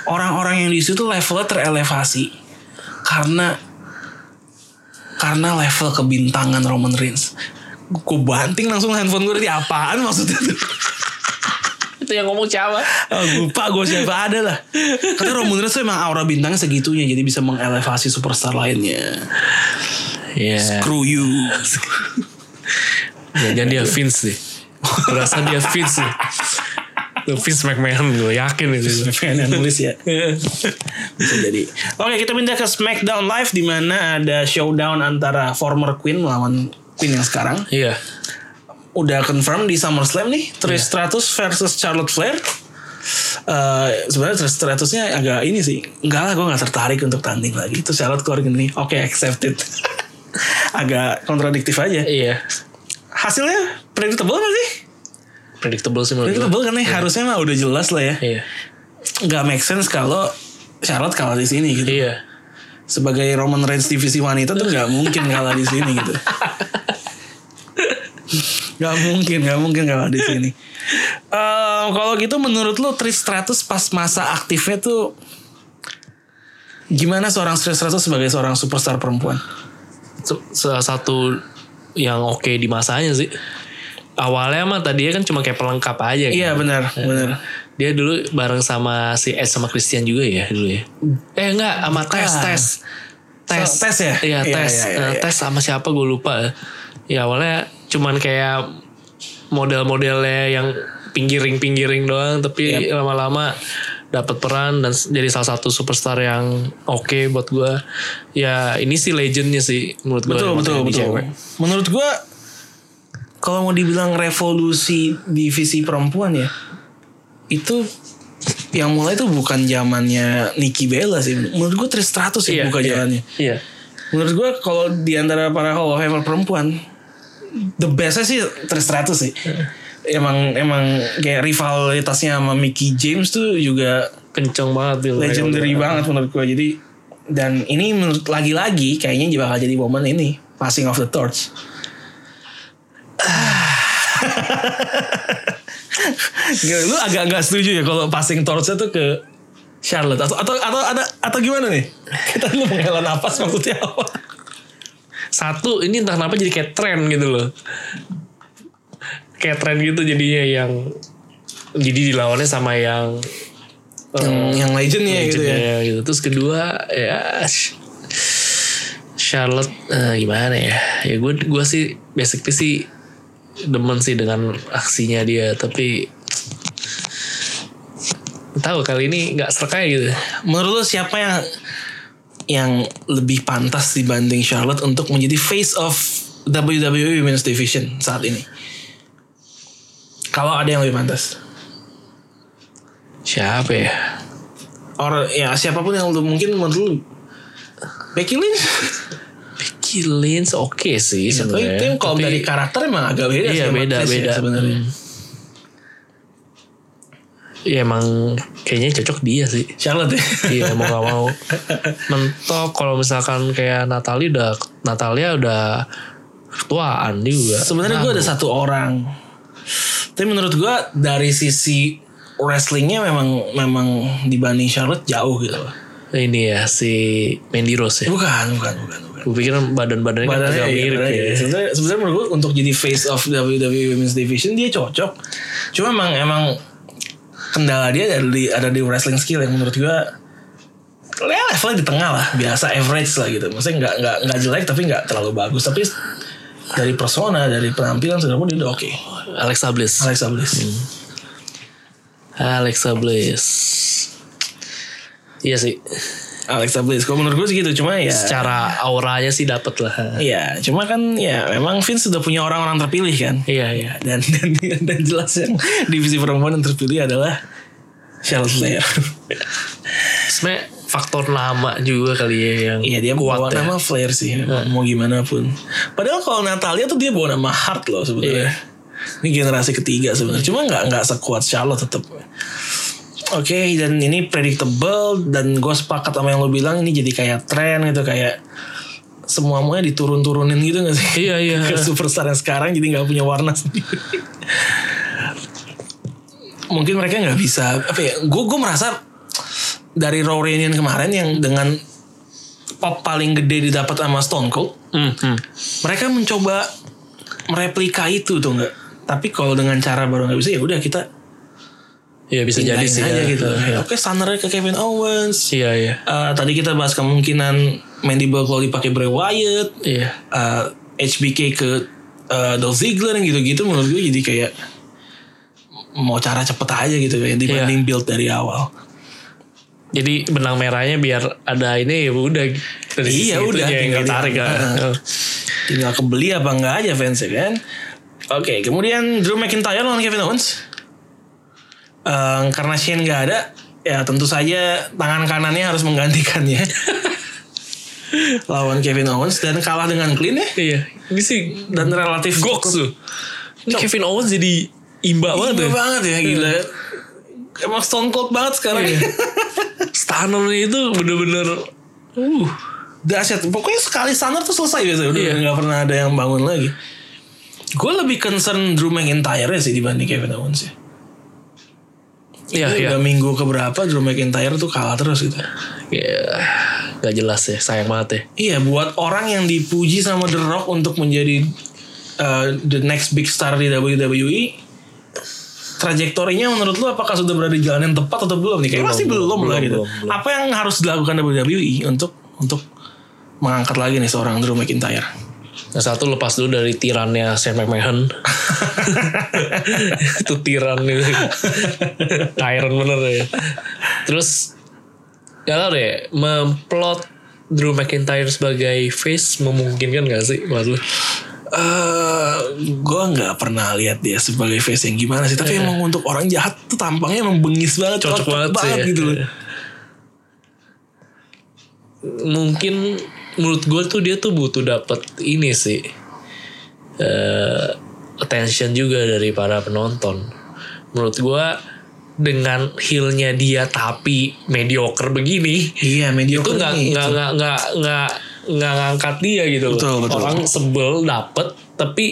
Speaker 1: orang-orang yang di situ levelnya terelevasi karena karena level kebintangan Roman Reigns gue banting langsung handphone gue tadi apaan maksudnya tuh
Speaker 2: Itu yang ngomong siapa?
Speaker 1: Ah, lupa gue siapa ada lah karena Roman Reigns tuh emang aura bintangnya segitunya jadi bisa mengelevasi superstar lainnya
Speaker 2: Iya
Speaker 1: crew you
Speaker 2: Ya, Jangan dia Vince deh Berasa dia Vince deh Tuh, Vince McMahon gue yakin itu
Speaker 1: pengen yang nulis ya bisa jadi oke kita pindah ke Smackdown Live di mana ada showdown antara former Queen melawan Queen yang sekarang
Speaker 2: Iya
Speaker 1: udah confirm di SummerSlam nih Trish Stratus versus Charlotte Flair. Eh, sebenarnya Trish Stratusnya agak ini sih enggak lah gue nggak tertarik untuk tanding lagi itu Charlotte keluar gini oke accepted agak kontradiktif aja
Speaker 2: Iya
Speaker 1: hasilnya predictable nggak sih
Speaker 2: Predictable sih menurut gue
Speaker 1: predictable kan nih harusnya mah udah jelas lah ya
Speaker 2: Iya
Speaker 1: nggak make sense kalau Charlotte kalah di sini gitu
Speaker 2: Iya
Speaker 1: sebagai Roman Reigns divisi wanita tuh nggak mungkin kalah di sini gitu Gak mungkin, gak mungkin kalau di sini. Em, kalau gitu menurut lu Trish Stratus pas masa aktifnya tuh gimana seorang Trish Stratus sebagai seorang superstar perempuan?
Speaker 2: Se- salah satu yang oke di masanya sih. Awalnya mah tadinya kan cuma kayak pelengkap aja kan.
Speaker 1: Iya benar, benar.
Speaker 2: Dia dulu bareng sama si Ed sama Christian juga ya dulu ya. Eh enggak sama Tes Tes. Tes.
Speaker 1: So, Tess ya?
Speaker 2: Iya,
Speaker 1: Iya,
Speaker 2: Tes.
Speaker 1: iya, iya,
Speaker 2: Eh,
Speaker 1: iya.
Speaker 2: Tes sama siapa gue lupa. Ya awalnya cuman kayak model-modelnya yang pinggiring-pinggiring doang tapi
Speaker 1: Iya.
Speaker 2: lama-lama dapat peran dan s- jadi salah satu superstar yang oke buat gue. Ya ini sih legendnya sih menurut gue.
Speaker 1: Betul, betul, betul. Menurut gua kalau mau dibilang revolusi divisi perempuan ya itu yang mulai tuh bukan zamannya Nikki Bella sih. Menurut gua Trish Stratus
Speaker 2: Iya,
Speaker 1: yang ya buka
Speaker 2: iya.
Speaker 1: jalannya.
Speaker 2: Iya.
Speaker 1: Menurut gue kalau di antara para Hall of Famer perempuan the bestnya sih Trish Stratus sih.
Speaker 2: Iya.
Speaker 1: Emang emang kayak rivalitasnya sama Mickey James tuh juga
Speaker 2: Kenceng banget dulu.
Speaker 1: legendary banget menurut gue. Jadi dan ini menurut lagi-lagi kayaknya bakal jadi momen ini passing of the torch. Ah. Gila, lu agak nggak setuju ya kalau passing torchnya tuh ke Charlotte atau atau atau ada atau gimana nih? Kita lu menghela nafas maksudnya apa?
Speaker 2: Satu ini entah kenapa jadi kayak tren gitu loh. Kayak tren gitu jadinya yang jadi dilawannya sama yang
Speaker 1: Yang yang legendnya gitu ya.
Speaker 2: legendnya gitu. Terus kedua ya sh- Charlotte eh, gimana ya? Ya gue gue sih basically sih demen sih dengan aksinya dia tapi tahu kali ini nggak serka gitu.
Speaker 1: Menurut lu siapa yang yang lebih pantas dibanding Charlotte untuk menjadi face of WWE Women's Division saat ini? Kalau ada yang lebih pantas,
Speaker 2: Siapa ya?
Speaker 1: or ya siapapun yang lu mungkin menurut lu Becky Lynch,
Speaker 2: Becky Lynch oke sih
Speaker 1: Iya, tapi
Speaker 2: sebenarnya.
Speaker 1: itu yang kalau
Speaker 2: Tapi-
Speaker 1: dari karakter emang agak beda
Speaker 2: Iya,
Speaker 1: sama
Speaker 2: beda,
Speaker 1: Trish ya
Speaker 2: beda.
Speaker 1: sebenarnya.
Speaker 2: Hmm. ya emang kayaknya cocok dia sih.
Speaker 1: Charlotte ya.
Speaker 2: iya mau gak mau mentok kalau misalkan kayak Natalia udah Natalia udah tuaan juga
Speaker 1: Sebenarnya gue ada satu orang. Tapi menurut gue dari sisi wrestlingnya memang memang dibanding Charlotte jauh gitu. loh.
Speaker 2: ini ya si Mandy Rose ya
Speaker 1: Bukan, bukan, bukan, bukan.
Speaker 2: gue pikir badan-badannya kan
Speaker 1: Badannya
Speaker 2: agak
Speaker 1: iya,
Speaker 2: mirip
Speaker 1: badannya
Speaker 2: ya
Speaker 1: iya. Sebenarnya sebenarnya menurut gue untuk jadi face of WWE Women's Division dia cocok. Cuma emang emang kendala dia ada di ada di wrestling skill yang menurut gue ya levelnya di tengah lah biasa average lah gitu maksudnya nggak nggak nggak jelek tapi nggak terlalu bagus tapi dari persona dari penampilan segala pun dia udah oke
Speaker 2: Alexa Bliss
Speaker 1: Alexa Bliss
Speaker 2: Alexa Bliss iya sih
Speaker 1: Alexa Bliss kalau menurut gue sih gitu cuma ya
Speaker 2: secara auranya sih dapet lah
Speaker 1: Iya, cuma kan ya memang Vince sudah punya orang-orang terpilih kan.
Speaker 2: iya iya
Speaker 1: dan dan dan jelas yang divisi perempuan yang terpilih adalah Charlotte Flair.
Speaker 2: sebenarnya faktor nama juga kali ya yang
Speaker 1: Iya dia bawa
Speaker 2: kuat ya.
Speaker 1: nama Flair sih mau gimana pun. Padahal kalau Natalia tuh dia bawa nama Hart loh
Speaker 2: Iya.
Speaker 1: sebenarnya. Ini generasi ketiga sebenarnya. Cuma nggak nggak sekuat Charlotte tetap. Oke dan ini predictable dan gue sepakat sama yang lo bilang ini jadi kayak tren gitu kayak semua semuanya diturun-turunin gitu gak sih?
Speaker 2: iya iya
Speaker 1: ke superstar yang sekarang jadi nggak punya warna sendiri. Mungkin mereka nggak bisa apa ya? Gue gue merasa dari Raw Reunion kemarin yang dengan pop paling gede didapat sama Stone Cold,
Speaker 2: Hmm, hmm.
Speaker 1: mereka mencoba mereplika itu tuh nggak? Tapi kalau dengan cara baru nggak bisa ya udah kita
Speaker 2: Iya bisa jadi
Speaker 1: pindahin
Speaker 2: sih
Speaker 1: aja
Speaker 2: ya.
Speaker 1: gitu. Oke standarnya ke Kevin Owens.
Speaker 2: Iya iya
Speaker 1: Eh, tadi kita bahas kemungkinan Mandy Bell kalau dipakai Bray Wyatt
Speaker 2: iya.
Speaker 1: eh, HBK ke eh, Dolph Ziggler yang gitu-gitu menurut gue jadi kayak mau cara cepet aja gitu ya dibanding build dari awal.
Speaker 2: Jadi benang merahnya biar ada ini ya udah dari
Speaker 1: Iya,
Speaker 2: itu
Speaker 1: udah,
Speaker 2: aja yang
Speaker 1: tinggal
Speaker 2: tertarik
Speaker 1: tinggal.
Speaker 2: kan.
Speaker 1: Heeh. Tinggal kebeli apa enggak aja fans kan. Oke, kemudian Drew McIntyre lawan Kevin Owens. Eh, karena Shane nggak ada, ya tentu saja tangan kanannya harus menggantikannya. lawan Kevin Owens dan kalah dengan clean ya
Speaker 2: Iya. Ini sih
Speaker 1: dan relatif
Speaker 2: goks tuh. Ini Kevin Owens jadi imba banget
Speaker 1: Gila
Speaker 2: ya.
Speaker 1: banget ya gila. Emang Stone Cold banget sekarang.
Speaker 2: Iya. Stunner itu bener-bener uh
Speaker 1: Dahsyat. Pokoknya sekali standar tuh selesai biasanya. Udah
Speaker 2: Iya.
Speaker 1: nggak pernah ada yang bangun lagi. Gue lebih concern Drew McIntyre sih dibanding Kevin Owens ya.
Speaker 2: Iya,
Speaker 1: Ini
Speaker 2: iya.
Speaker 1: Udah minggu keberapa Drew McIntyre tuh kalah terus gitu.
Speaker 2: Iya. Gak jelas ya, sayang banget ya.
Speaker 1: Iya, buat orang yang dipuji sama The Rock untuk menjadi uh, the next big star di WWE, trajektorinya menurut lu apakah sudah berada di jalan yang tepat atau belum nih? Kayaknya pasti belum, lah
Speaker 2: belum,
Speaker 1: gitu.
Speaker 2: belum, belum.
Speaker 1: Apa yang harus dilakukan WWE untuk untuk mengangkat lagi nih seorang Drew McIntyre?
Speaker 2: Yang satu lepas dulu dari tirannya Sam McMahon. itu tiran itu. Tyrant bener ya. Terus gak tau deh memplot Drew McIntyre sebagai face memungkinkan gak sih buat lu?
Speaker 1: Eh, gue nggak pernah lihat dia sebagai face yang gimana sih. Tapi emang untuk orang jahat tuh tampangnya emang bengis banget,
Speaker 2: Cocok
Speaker 1: Eh. cocok,
Speaker 2: banget
Speaker 1: banget,
Speaker 2: sih ya.
Speaker 1: gitu loh.
Speaker 2: Mungkin menurut gue tuh dia tuh butuh dapet ini sih. eh attention juga dari para penonton. Menurut gue dengan heelnya dia tapi mediocre begini
Speaker 1: Iya, media
Speaker 2: itu nggak nggak nggak nggak nggak nggak ngangkat dia gitu loh.
Speaker 1: Betul, betul.
Speaker 2: orang sebel dapet tapi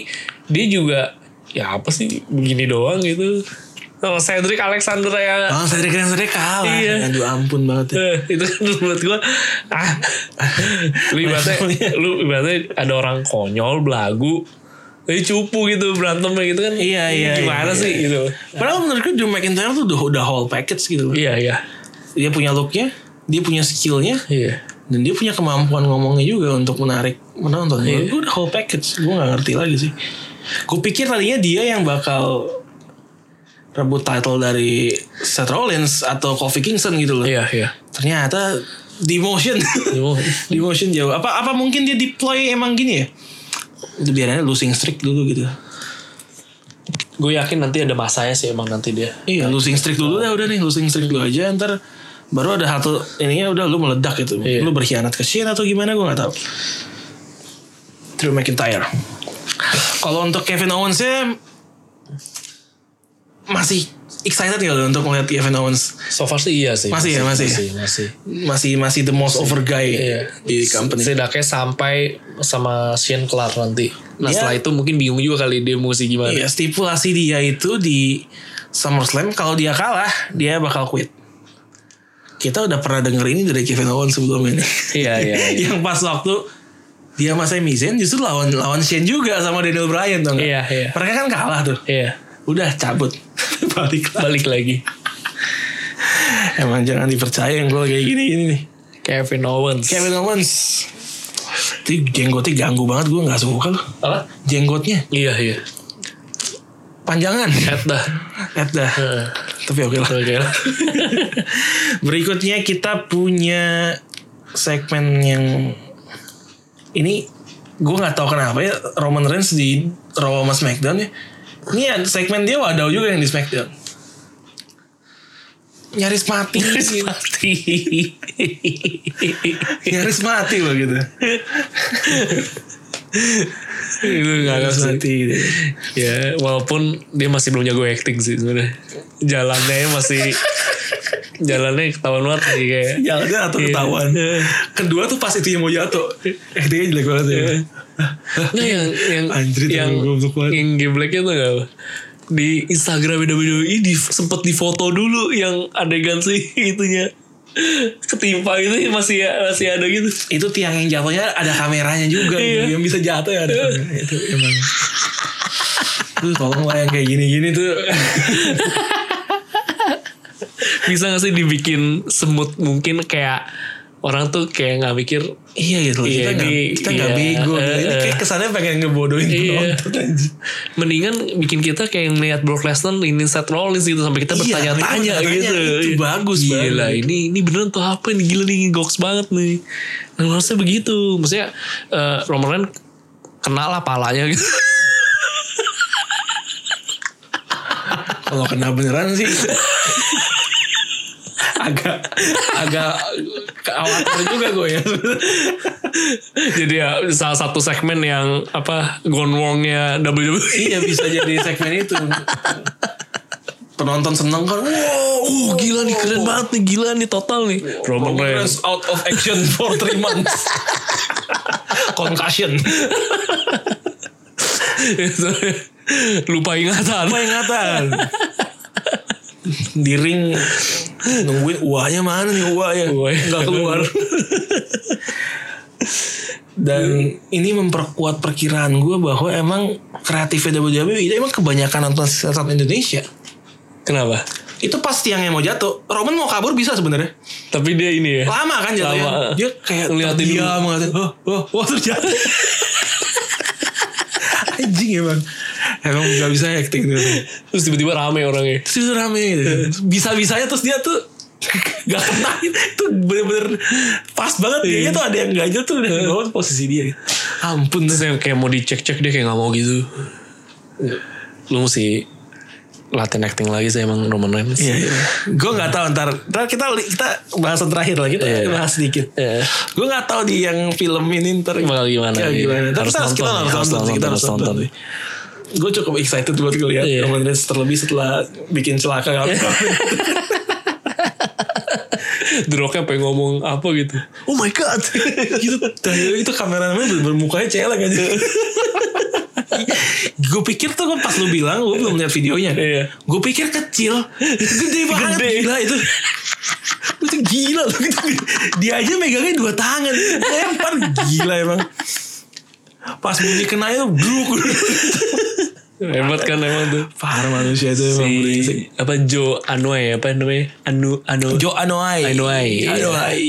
Speaker 2: dia juga ya apa sih begini doang gitu sama Cedric Alexander ya
Speaker 1: Oh, Cedric Alexander kalah.
Speaker 2: Iya.
Speaker 1: Aduh ampun banget ya.
Speaker 2: Eh, itu kan menurut gua ah lu ibaratnya lu ibaratnya ada orang konyol belagu tapi cupu gitu berantem kayak gitu kan
Speaker 1: Iya, iya,
Speaker 2: gimana
Speaker 1: iya,
Speaker 2: sih
Speaker 1: iya.
Speaker 2: gitu
Speaker 1: Padahal menurut gue Drew McIntyre tuh udah, udah whole package gitu loh.
Speaker 2: iya iya
Speaker 1: Dia punya looknya, dia punya skillnya,
Speaker 2: iya
Speaker 1: dan dia punya kemampuan ngomongnya juga untuk menarik penonton. Menurut Gue udah whole package, gue gak ngerti lagi sih. Gue pikir tadinya dia yang bakal rebut title dari Seth Rollins atau Kofi Kingston gitu loh.
Speaker 2: iya iya
Speaker 1: Ternyata demotion. demotion jauh. Apa apa mungkin dia deploy emang gini ya? Udah biarannya losing streak dulu gitu.
Speaker 2: gue yakin nanti ada masanya sih emang nanti dia
Speaker 1: Iya, losing streak dulu dah udah nih, losing streak dulu aja ntar baru ada satu ininya udah lu meledak gitu.
Speaker 2: Iya.
Speaker 1: Lu berkhianat ke Shane atau gimana gue nggak tahu. Drew McIntyre. Kalau untuk Kevin Owens nya masih excited gak lu untuk melihat Kevin Owens
Speaker 2: so far sih iya sih
Speaker 1: Masih ya, masih.
Speaker 2: masih, masih.
Speaker 1: masih masih the most over guy
Speaker 2: Iya.
Speaker 1: di company.
Speaker 2: Setidaknya sampai sama Shane kelar nanti. Nah
Speaker 1: Iya.
Speaker 2: setelah itu mungkin bingung juga kali dia mesti gimana.
Speaker 1: Iya, stipulasi dia itu di SummerSlam kalau dia kalah dia bakal quit. Kita udah pernah denger ini dari Kevin Owens sebelumnya. nih.
Speaker 2: Iya iya. iya.
Speaker 1: yang pas waktu dia sama Sami Zayn justru lawan lawan Shane juga sama Daniel Bryan tuh
Speaker 2: Iya, iya.
Speaker 1: mereka kan kalah tuh
Speaker 2: Iya.
Speaker 1: udah cabut balik lah.
Speaker 2: Balik lagi
Speaker 1: emang jangan dipercaya yang gue kayak gini gini nih
Speaker 2: Kevin Owens.
Speaker 1: Kevin Owens itu jenggotnya ganggu banget gue nggak suka loh
Speaker 2: Apa?
Speaker 1: jenggotnya
Speaker 2: Iya iya.
Speaker 1: panjangan
Speaker 2: Ed dah.
Speaker 1: et dah
Speaker 2: Heeh.
Speaker 1: tapi oke lah
Speaker 2: Oke lah.
Speaker 1: berikutnya kita punya segmen yang ini gue nggak tahu kenapa ya Roman Reigns di Raw sama SmackDown ya ini ada segmen dia wadaw juga yang di SmackDown nyaris mati nyaris mati nyaris mati loh gitu
Speaker 2: Itu nggak
Speaker 1: nyaris
Speaker 2: ngerti.
Speaker 1: mati gitu.
Speaker 2: Ya walaupun dia masih belum jago acting sih sebenarnya. Jalannya masih jalannya ketahuan banget sih kayak.
Speaker 1: jalannya atau
Speaker 2: Iya.
Speaker 1: ketahuan kedua tuh pas itu yang mau jatuh eh dia jelek banget ya
Speaker 2: Nggak yang yang
Speaker 1: Anjrit,
Speaker 2: yang
Speaker 1: emang goblok banget.
Speaker 2: yang gebleknya tuh nggak apa? di Instagram WWE di, sempet difoto dulu yang adegan sih itunya ketimpa itu masih masih ada gitu
Speaker 1: itu tiang yang jatuhnya ada kameranya juga
Speaker 2: Iya.
Speaker 1: yang bisa jatuh ya ada kamera. itu emang Aduh, tolong lah yang kayak gini-gini tuh
Speaker 2: bisa gak sih dibikin semut mungkin kayak orang tuh kayak nggak mikir
Speaker 1: iya gitu loh
Speaker 2: Iya,
Speaker 1: kita nggak
Speaker 2: di-
Speaker 1: kita nggak
Speaker 2: iya,
Speaker 1: bego gitu. ini
Speaker 2: eh, eh.
Speaker 1: kayak kesannya pengen ngebodohin
Speaker 2: Iya.
Speaker 1: penonton aja.
Speaker 2: mendingan bikin kita kayak melihat Brock Lesnar ini Seth Rollins gitu sampai
Speaker 1: Iya,
Speaker 2: kita bertanya-tanya
Speaker 1: kita
Speaker 2: gitu
Speaker 1: bertanya, itu bagus banget.
Speaker 2: gila ini ini beneran tuh apa ini gila nih goks banget nih dan harusnya begitu maksudnya eh, Roman Reigns kena lah palanya gitu
Speaker 1: kalau kena beneran sih agak agak khawatir juga gue ya
Speaker 2: jadi ya salah satu segmen yang apa gone wrongnya E. WWE
Speaker 1: iya bisa jadi segmen itu penonton seneng kan wow
Speaker 2: Oh gila nih keren banget nih gila nih total nih Roman Reigns
Speaker 1: Reigns out of action for three months. Concussion.
Speaker 2: Lupa ingatan.
Speaker 1: Apa ingatan? di ring nungguin uahnya mana nih uahnya
Speaker 2: Uahnya.
Speaker 1: nggak keluar dan ini memperkuat perkiraan gue bahwa emang kreatifnya WWE itu E, emang kebanyakan nonton sesat Indonesia
Speaker 2: Kenapa?
Speaker 1: itu pasti yang mau jatuh Roman mau kabur bisa sebenarnya
Speaker 2: Tapi dia ini ya.
Speaker 1: lama kan jatuhnya
Speaker 2: Lama.
Speaker 1: dia kayak
Speaker 2: Ngeliatin dulu.
Speaker 1: diam ngeliatin oh oh oh terus jatuh anjing emang emang gak bisa acting gitu
Speaker 2: Terus tiba-tiba rame orangnya.
Speaker 1: terus itu rame gitu. bisa bisanya terus dia tuh gak kena itu bener-bener pas banget dia tuh ada yang ganjel tuh udah di bawah posisi dia gitu. ampun
Speaker 2: Terus yang kayak mau dicek-cek dia kayak nggak mau gitu. Lu mesti latihan acting lagi sih emang Roman Reigns.
Speaker 1: Iya, iya. gue nggak tahu ntar, ntar kita kita bahasan terakhir lah kita
Speaker 2: Iya.
Speaker 1: bahas sedikit.
Speaker 2: Iya.
Speaker 1: Gue nggak tahu di yang film ini ntar
Speaker 2: Bakal gimana,
Speaker 1: kayak
Speaker 2: iya.
Speaker 1: Ya, gimana. Tapi
Speaker 2: Harus
Speaker 1: harus kita
Speaker 2: nonton,
Speaker 1: harus
Speaker 2: ya. Harus
Speaker 1: nonton, sih, kita
Speaker 2: nonton,
Speaker 1: harus
Speaker 2: harus
Speaker 1: nonton.
Speaker 2: nonton.
Speaker 1: Gue cukup excited buat ngeliat
Speaker 2: Iya.
Speaker 1: Roman Reigns terlebih setelah bikin celaka kali.
Speaker 2: The Rock-nya pengen ngomong apa gitu.
Speaker 1: oh my god, gitu. Dan itu kameramen bener-bener mukanya celeng aja. gue pikir tuh kan pas lu bilang gue belum lihat videonya.
Speaker 2: Iya.
Speaker 1: Gue pikir kecil, gede banget
Speaker 2: Gede.
Speaker 1: gila itu. Itu gila loh gitu. Dia aja megangnya dua tangan Lempar gila emang Pas bunyi kena itu Bruk
Speaker 2: Hebat kan emang tuh.
Speaker 1: Parah manusia itu emang berisik.
Speaker 2: Si, apa Joe Anoa'i apa namanya? Anu Anu.
Speaker 1: Jo Anoai
Speaker 2: Anoa'i.
Speaker 1: Anoai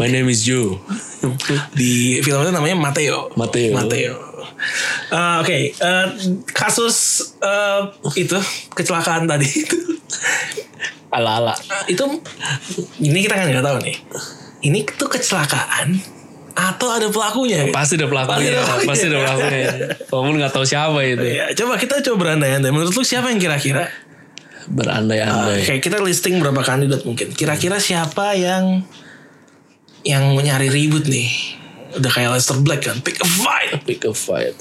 Speaker 2: My name is Joe.
Speaker 1: Di film itu namanya Mateo
Speaker 2: Mateo.
Speaker 1: Mateo Eh, Oke eh, Kasus eh, Itu Kecelakaan tadi itu
Speaker 2: Ala-ala.
Speaker 1: Itu Ini kita kan gak tahu nih Ini tuh kecelakaan Atau ada pelakunya
Speaker 2: Pasti ada pelakunya. Pasti ada pelakunya. Walaupun nggak tahu siapa itu.
Speaker 1: Ya, coba kita coba berandai-andai. Menurut lu siapa yang kira-kira?
Speaker 2: Berandai-andai.
Speaker 1: Kayak kita listing berapa kandidat mungkin. Kira-kira siapa yang yang mau nyari ribut nih? Udah kayak Lester Black kan, pick a fight.
Speaker 2: Pick a fight.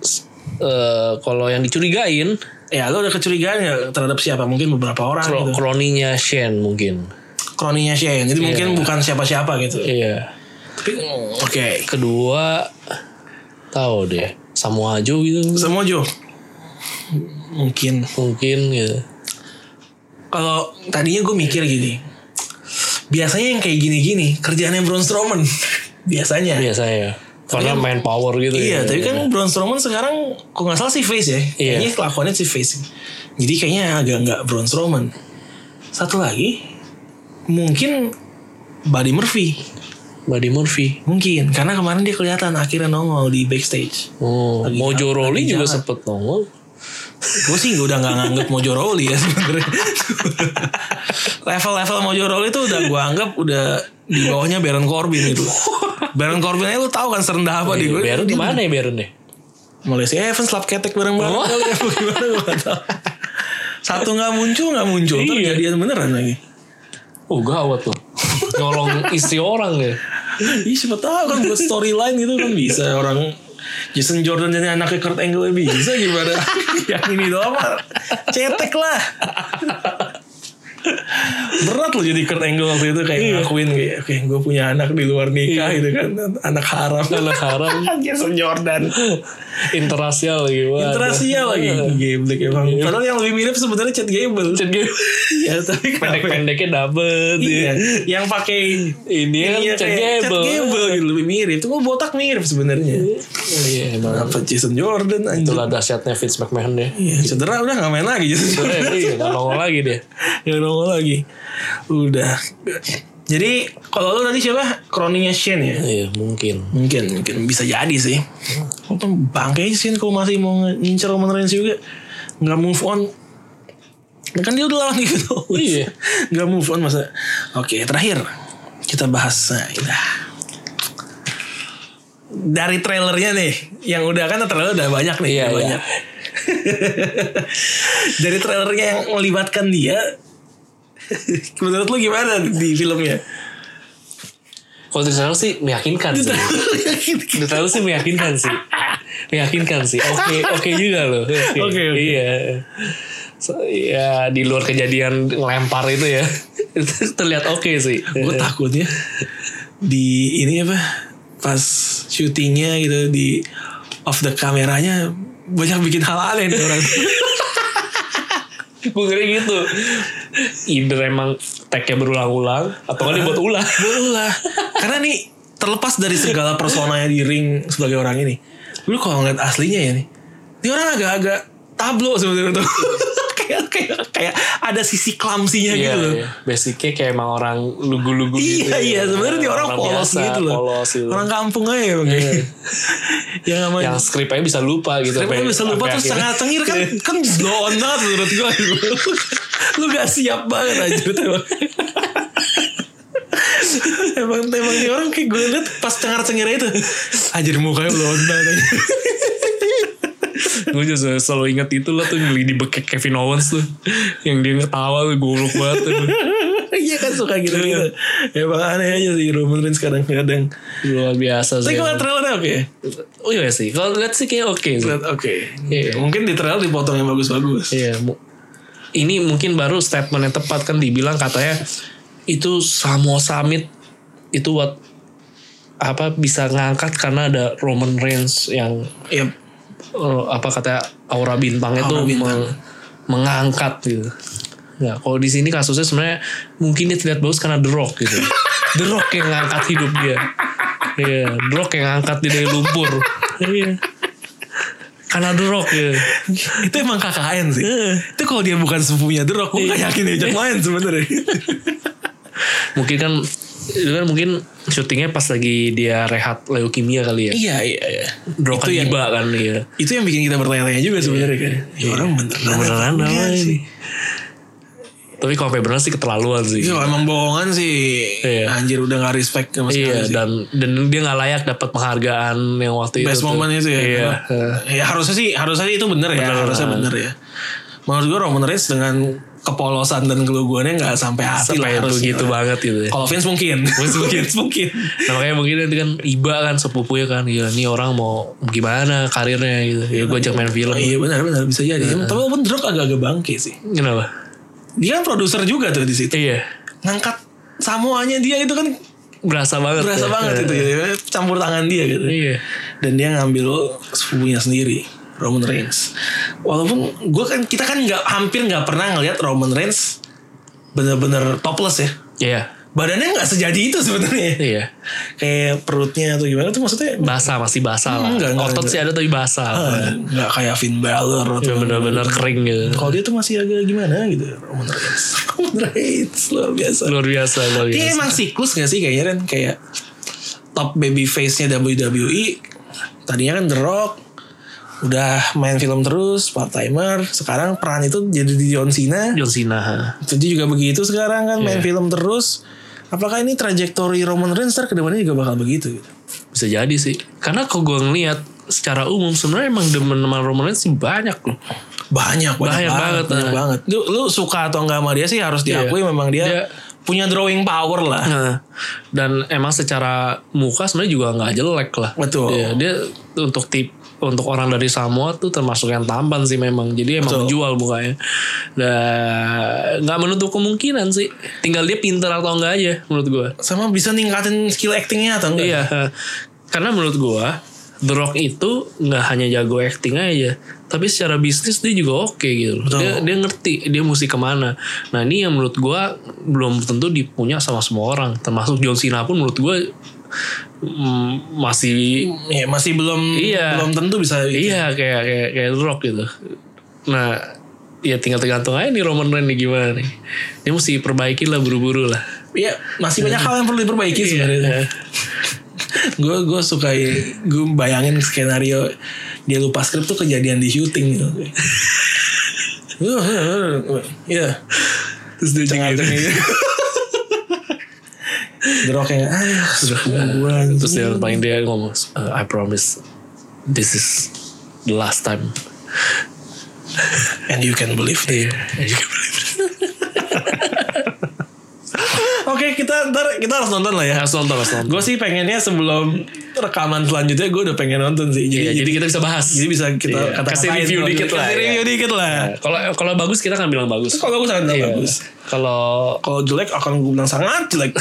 Speaker 2: S- eh, kalau yang dicurigain
Speaker 1: Ya, lu ada kecurigaan nggak terhadap siapa? Mungkin beberapa orang
Speaker 2: kro-
Speaker 1: gitu.
Speaker 2: kroninya Shane mungkin.
Speaker 1: Kroninya Shane. Jadi mungkin bukan siapa-siapa gitu.
Speaker 2: Iya.
Speaker 1: Iya. Tapi mm, oke.
Speaker 2: Kedua tahu deh Samoa Joe gitu
Speaker 1: Semua Jo. Mungkin
Speaker 2: mungkin gitu.
Speaker 1: kalau tadinya gue mikir gini. Biasanya yang kayak gini-gini kerjaannya Braun Strowman. biasanya.
Speaker 2: Biasanya. ya. Karena main power gitu
Speaker 1: kan Iya,
Speaker 2: ya.
Speaker 1: tapi kan Braun Strowman sekarang kok nggak salah si face ya. Kayaknya kelakuannya si face. Jadi kayaknya agak nggak Braun Strowman. Satu lagi mungkin Buddy Murphy
Speaker 2: Buddy Murphy.
Speaker 1: mungkin karena kemarin dia kelihatan akhirnya nongol di backstage.
Speaker 2: Oh,
Speaker 1: Lagi
Speaker 2: Mojo
Speaker 1: jalan,
Speaker 2: Rawley
Speaker 1: lagi
Speaker 2: juga
Speaker 1: jalan.
Speaker 2: sempet nongol.
Speaker 1: Gue sih udah nggak nganggep Mojo Rawley ya sebenarnya. Level-level Mojo Rawley itu udah gue anggap udah di bawahnya Baron Corbin itu. Baron Corbin aja lu tahu kan serendah apa di gue.
Speaker 2: Baron kemana ya Baron ya?
Speaker 1: Malaysia eh, Evans lap ketek bareng-bareng
Speaker 2: Oh.
Speaker 1: kali apa gimana gue gak tahu. Satu nggak muncul nggak muncul Ntar
Speaker 2: Iya.
Speaker 1: jadian beneran lagi.
Speaker 2: Oh gawat tuh. Nyolong istri orang ya.
Speaker 1: Ih siapa tahu kan buat storyline itu kan bisa orang Jason Jordan jadi anaknya Kurt Angle ya bisa gimana? Yang ini doang mah cetek lah. Berat loh jadi Kurt Angle waktu itu
Speaker 2: Iya.
Speaker 1: kayak ngakuin kayak oke gue punya anak di luar nikah gitu kan anak haram
Speaker 2: Anak haram.
Speaker 1: Jason Jordan.
Speaker 2: Interasial gimana.
Speaker 1: Interasia lagi Gameblek emang
Speaker 2: Iya.
Speaker 1: Padahal yang lebih mirip sebenarnya Chat Gable Chat Gable Ya tapi kenapa
Speaker 2: Pendek-pendeknya dapet.
Speaker 1: Iya.
Speaker 2: ya.
Speaker 1: Yang pakai
Speaker 2: Ini kan
Speaker 1: ininya
Speaker 2: Chad
Speaker 1: kayak Chad
Speaker 2: Gable.
Speaker 1: Gable gitu lebih mirip Itu botak mirip sebenarnya
Speaker 2: Oh, Iya emang.
Speaker 1: Apa Jason Jordan anjir
Speaker 2: Itulah dahsyatnya Vince McMahon ya.
Speaker 1: Iya, cedera udah gak main lagi Jason
Speaker 2: Iya,
Speaker 1: Jordan.
Speaker 2: iya, nggak nongol lagi dia.
Speaker 1: Ya nongol lagi Udah Jadi kalau lu tadi siapa? Kroninya Shane ya?
Speaker 2: Iya mungkin.
Speaker 1: Mungkin, mungkin bisa jadi sih. Walaupun bangke sih kalau masih mau ngincer Roman Reigns juga nggak move on. Kan dia udah lawan gitu.
Speaker 2: Iya.
Speaker 1: nggak move on masa. Oke, terakhir kita bahas nah, udah. Dari trailernya nih, yang udah kan trailer udah banyak nih, udah
Speaker 2: Iya, iya.
Speaker 1: banyak. Dari trailernya yang melibatkan dia, menurut lu gimana di filmnya?
Speaker 2: Kalau di trailer sih meyakinkan sih. Di trailer sih meyakinkan sih. Meyakinkan sih. Oke, oke juga loh. Oke,
Speaker 1: Oke, oke.
Speaker 2: Iya. So, ya di luar kejadian ngelempar itu ya. Itu terlihat oke sih.
Speaker 1: gue takutnya di ini apa pas syutingnya gitu di off the kameranya banyak bikin hal aneh nih orang.
Speaker 2: Gue kira gitu. Either emang tag-nya berulang-ulang atau kan dibuat ulang.
Speaker 1: Bola. Karena nih terlepas dari segala personanya di ring sebagai orang ini. Lu kalau ngeliat aslinya ya nih. Ini orang agak-agak tablo sebenarnya tuh. kayak kayak kayak ada sisi
Speaker 2: Iya,
Speaker 1: klamsinya gitu loh.
Speaker 2: Basicnya kayak emang orang lugu-lugu gitu.
Speaker 1: Iya iya
Speaker 2: ya.
Speaker 1: sebenarnya dia orang polos
Speaker 2: biasa,
Speaker 1: gitu loh.
Speaker 2: Polos gitu. Iya.
Speaker 1: Orang kampung aja ya bang. yang sama
Speaker 2: yang skripnya bisa lupa gitu.
Speaker 1: Tapi
Speaker 2: sampai-
Speaker 1: lu bisa lupa
Speaker 2: sampai
Speaker 1: terus
Speaker 2: akhirnya.
Speaker 1: sangat cengir kan kan blow on banget menurut gue. lu gak siap banget aja emang. emang emang dia orang kayak gue liat pas cengar cengir itu anjir mukanya blow on banget aja.
Speaker 2: gue juga selalu inget itu lah tuh yang di bekek Kevin Owens tuh yang dia ngetawa tuh golok banget tuh.
Speaker 1: Iya kan suka gitu gitu. Emang aneh aja sih lu benerin sekarang kadang.
Speaker 2: luar biasa
Speaker 1: Tapi
Speaker 2: sih
Speaker 1: kalau trailernya oke.
Speaker 2: oh iya sih kalau lihat sih kayak oke sih
Speaker 1: Lihat Oke.
Speaker 2: Iya.
Speaker 1: Mungkin di trailer dipotong yang bagus-bagus.
Speaker 2: Iya, mu- ini mungkin baru statement yang tepat kan dibilang katanya itu Samoa Summit itu buat apa bisa ngangkat karena ada Roman Reigns yang
Speaker 1: Iya.
Speaker 2: eh, apa katanya aura bintangnya
Speaker 1: Aura
Speaker 2: tuh
Speaker 1: bintang.
Speaker 2: meng- mengangkat gitu. Nah, kalau di sini kasusnya sebenarnya mungkin dia tidak bagus karena The Rock gitu. The Rock yang ngangkat hidup dia. Iya, The Rock yang ngangkat dia dari lumpur. Iya. Karena The Rock ya.
Speaker 1: itu emang KKN sih. itu kalau dia bukan sepupunya The Rock, gue gak yakin dia ajak main sebenarnya.
Speaker 2: mungkin kan itu kan mungkin syutingnya pas lagi dia rehat leukemia kali ya
Speaker 1: iya, iya, iya.
Speaker 2: drop
Speaker 1: itu yang-
Speaker 2: tiba kan iya
Speaker 1: Itu yang bikin kita bertanya-tanya juga sebenarnya kan. Ya, orang beneran. Iya
Speaker 2: beneran
Speaker 1: apa
Speaker 2: apa
Speaker 1: enggak
Speaker 2: ini Iya tapi kalau sampai beneran sih keterlaluan sih
Speaker 1: Iya, emang bohongan sih.
Speaker 2: Iya.
Speaker 1: Anjir udah gak respect sama sekali
Speaker 2: iya
Speaker 1: sih.
Speaker 2: dan dan dia nggak layak dapat penghargaan yang waktu
Speaker 1: Best
Speaker 2: itu tuh.
Speaker 1: moment itu ya.
Speaker 2: iya
Speaker 1: Ya harusnya sih, harusnya sih itu bener, ya. Harusnya bener ya. Menurut gue Roman Reigns dengan kepolosan dan keluguannya gak sampai hati lah
Speaker 2: sampai itu
Speaker 1: harusnya.
Speaker 2: gitu banget gitu ya
Speaker 1: Kalau Vince mungkin. Vince mungkin. mungkin.
Speaker 2: Nah, makanya mungkin nanti kan iba kan sepupunya kan ya ini orang mau gimana karirnya gitu ya gue ajak main film
Speaker 1: Oh, iya benar-benar bisa jadi. Tapi walaupun The Rock agak-agak bangke sih.
Speaker 2: kenapa
Speaker 1: Dia kan produser juga tuh di situ.
Speaker 2: iya
Speaker 1: ngangkat samuanya dia itu kan
Speaker 2: berasa banget
Speaker 1: berasa
Speaker 2: ya.
Speaker 1: banget itu ya. campur tangan dia gitu
Speaker 2: iya
Speaker 1: dan dia ngambil sepupunya sendiri Roman Reigns walaupun gue kan kita kan nggak hampir nggak pernah ngelihat Roman Reigns bener-bener topless ya
Speaker 2: iya
Speaker 1: badannya nggak sejadi itu sebenarnya
Speaker 2: iya
Speaker 1: kayak perutnya atau gimana tuh maksudnya
Speaker 2: basah masih basah lah.
Speaker 1: enggak, enggak,
Speaker 2: otot
Speaker 1: enggak.
Speaker 2: sih ada tapi basah
Speaker 1: ah, nggak kayak Finn Balor atau
Speaker 2: Iya, bener-bener kering gitu
Speaker 1: kalau dia tuh masih agak gimana gitu Roman Reigns Roman Reigns luar biasa
Speaker 2: luar biasa luar
Speaker 1: Dia
Speaker 2: biasa
Speaker 1: emang siklus gak sih kayaknya kan kayak top baby face-nya WWE tadinya kan The Rock udah main film terus part timer sekarang peran itu jadi di John Cena
Speaker 2: John Cena ha.
Speaker 1: itu juga begitu sekarang kan
Speaker 2: Iya.
Speaker 1: main film terus apakah ini trajektori Roman Reigns ntar kedepannya juga bakal begitu gitu
Speaker 2: bisa jadi sih karena kalau gue ngeliat secara umum sebenarnya emang demen sama Roman Reigns sih banyak loh
Speaker 1: banyak banyak,
Speaker 2: Banyak
Speaker 1: banget,
Speaker 2: banget,
Speaker 1: banyak
Speaker 2: nah.
Speaker 1: banget lu, lu suka atau enggak sama dia sih harus diakui
Speaker 2: Iya.
Speaker 1: memang dia,
Speaker 2: Dia-
Speaker 1: punya drawing power lah
Speaker 2: Nah, dan emang secara muka sebenarnya juga nggak jelek lah
Speaker 1: Betul.
Speaker 2: Iya, dia untuk tip untuk orang dari Samoa tuh termasuk yang tampan sih memang jadi emang
Speaker 1: Betul.
Speaker 2: menjual mukanya nah nggak menutup kemungkinan sih tinggal dia pinter atau enggak aja menurut gue
Speaker 1: sama bisa ningkatin skill actingnya atau enggak
Speaker 2: Iya, eh, karena menurut gua The Rock itu nggak hanya jago acting aja, tapi secara bisnis dia juga oke gitu. loh.
Speaker 1: Betul.
Speaker 2: Dia, dia ngerti dia mesti kemana. Nah ini yang menurut gua belum tentu dipunya sama semua orang, termasuk John Cena pun menurut gua mm, masih
Speaker 1: Ya, masih belum
Speaker 2: Iya.
Speaker 1: belum tentu bisa
Speaker 2: iya kayak kayak kayak The Rock gitu. Nah ya tinggal tergantung aja nih Roman Reigns nih gimana nih. Dia mesti perbaiki lah buru-buru lah.
Speaker 1: Iya, masih banyak hal yang perlu diperbaiki
Speaker 2: Iya.
Speaker 1: sebenarnya. Gue gue suka gue bayangin skenario dia lupa skrip tuh kejadian di syuting gitu. Iya. Terus dia cengar gitu. Drok yang aduh gangguan.
Speaker 2: Terus dia paling dia ngomong, "Uh, I promise this is the last time.
Speaker 1: and you can believe it.
Speaker 2: Iya, And you can believe it."
Speaker 1: Oke, kita ntar kita harus nonton lah ya.
Speaker 2: Harus Eh, nonton, harus nonton.
Speaker 1: Gue sih pengennya sebelum rekaman selanjutnya gue udah pengen nonton sih.
Speaker 2: Iya,
Speaker 1: Jadi,
Speaker 2: jadi kita bisa bahas.
Speaker 1: jadi bisa kita
Speaker 2: Iya,
Speaker 1: kata-katain
Speaker 2: kasih review
Speaker 1: kalau- gitu.
Speaker 2: dikit lah,
Speaker 1: Kasih
Speaker 2: ya.
Speaker 1: review dikit lah.
Speaker 2: Kalau kalau bagus kita akan bilang bagus.
Speaker 1: Kalau bagus akan
Speaker 2: Iya.
Speaker 1: bagus.
Speaker 2: Kalau
Speaker 1: Kalau jelek akan gue bilang sangat jelek.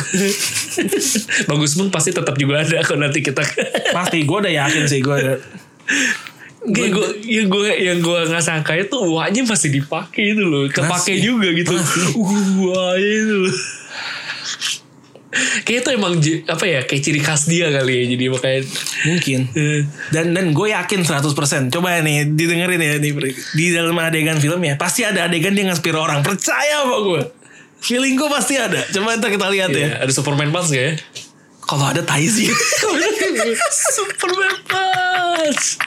Speaker 2: bagus pun pasti tetap juga ada kalau nanti kita
Speaker 1: Pasti gue udah yakin sih gue ada.
Speaker 2: Gak, gua, yang gue yang gue nggak sangka itu uangnya masih dipakai itu loh,
Speaker 1: Masih.
Speaker 2: kepake juga gitu.
Speaker 1: Masih.
Speaker 2: Wah itu loh. Kayak itu emang j- apa ya kayak ciri khas dia kali ya jadi makanya
Speaker 1: Mungkin.
Speaker 2: eh,
Speaker 1: Dan dan gue yakin 100% Coba nih didengerin ya nih, Pri. Di dalam adegan filmnya Pasti ada adegan dia ngasih orang Percaya sama gue Feeling gue pasti ada Coba ntar kita lihat ya
Speaker 2: ya, ada Superman Punch gak ya?
Speaker 1: Kalau ada tai sih
Speaker 2: Superman Punch.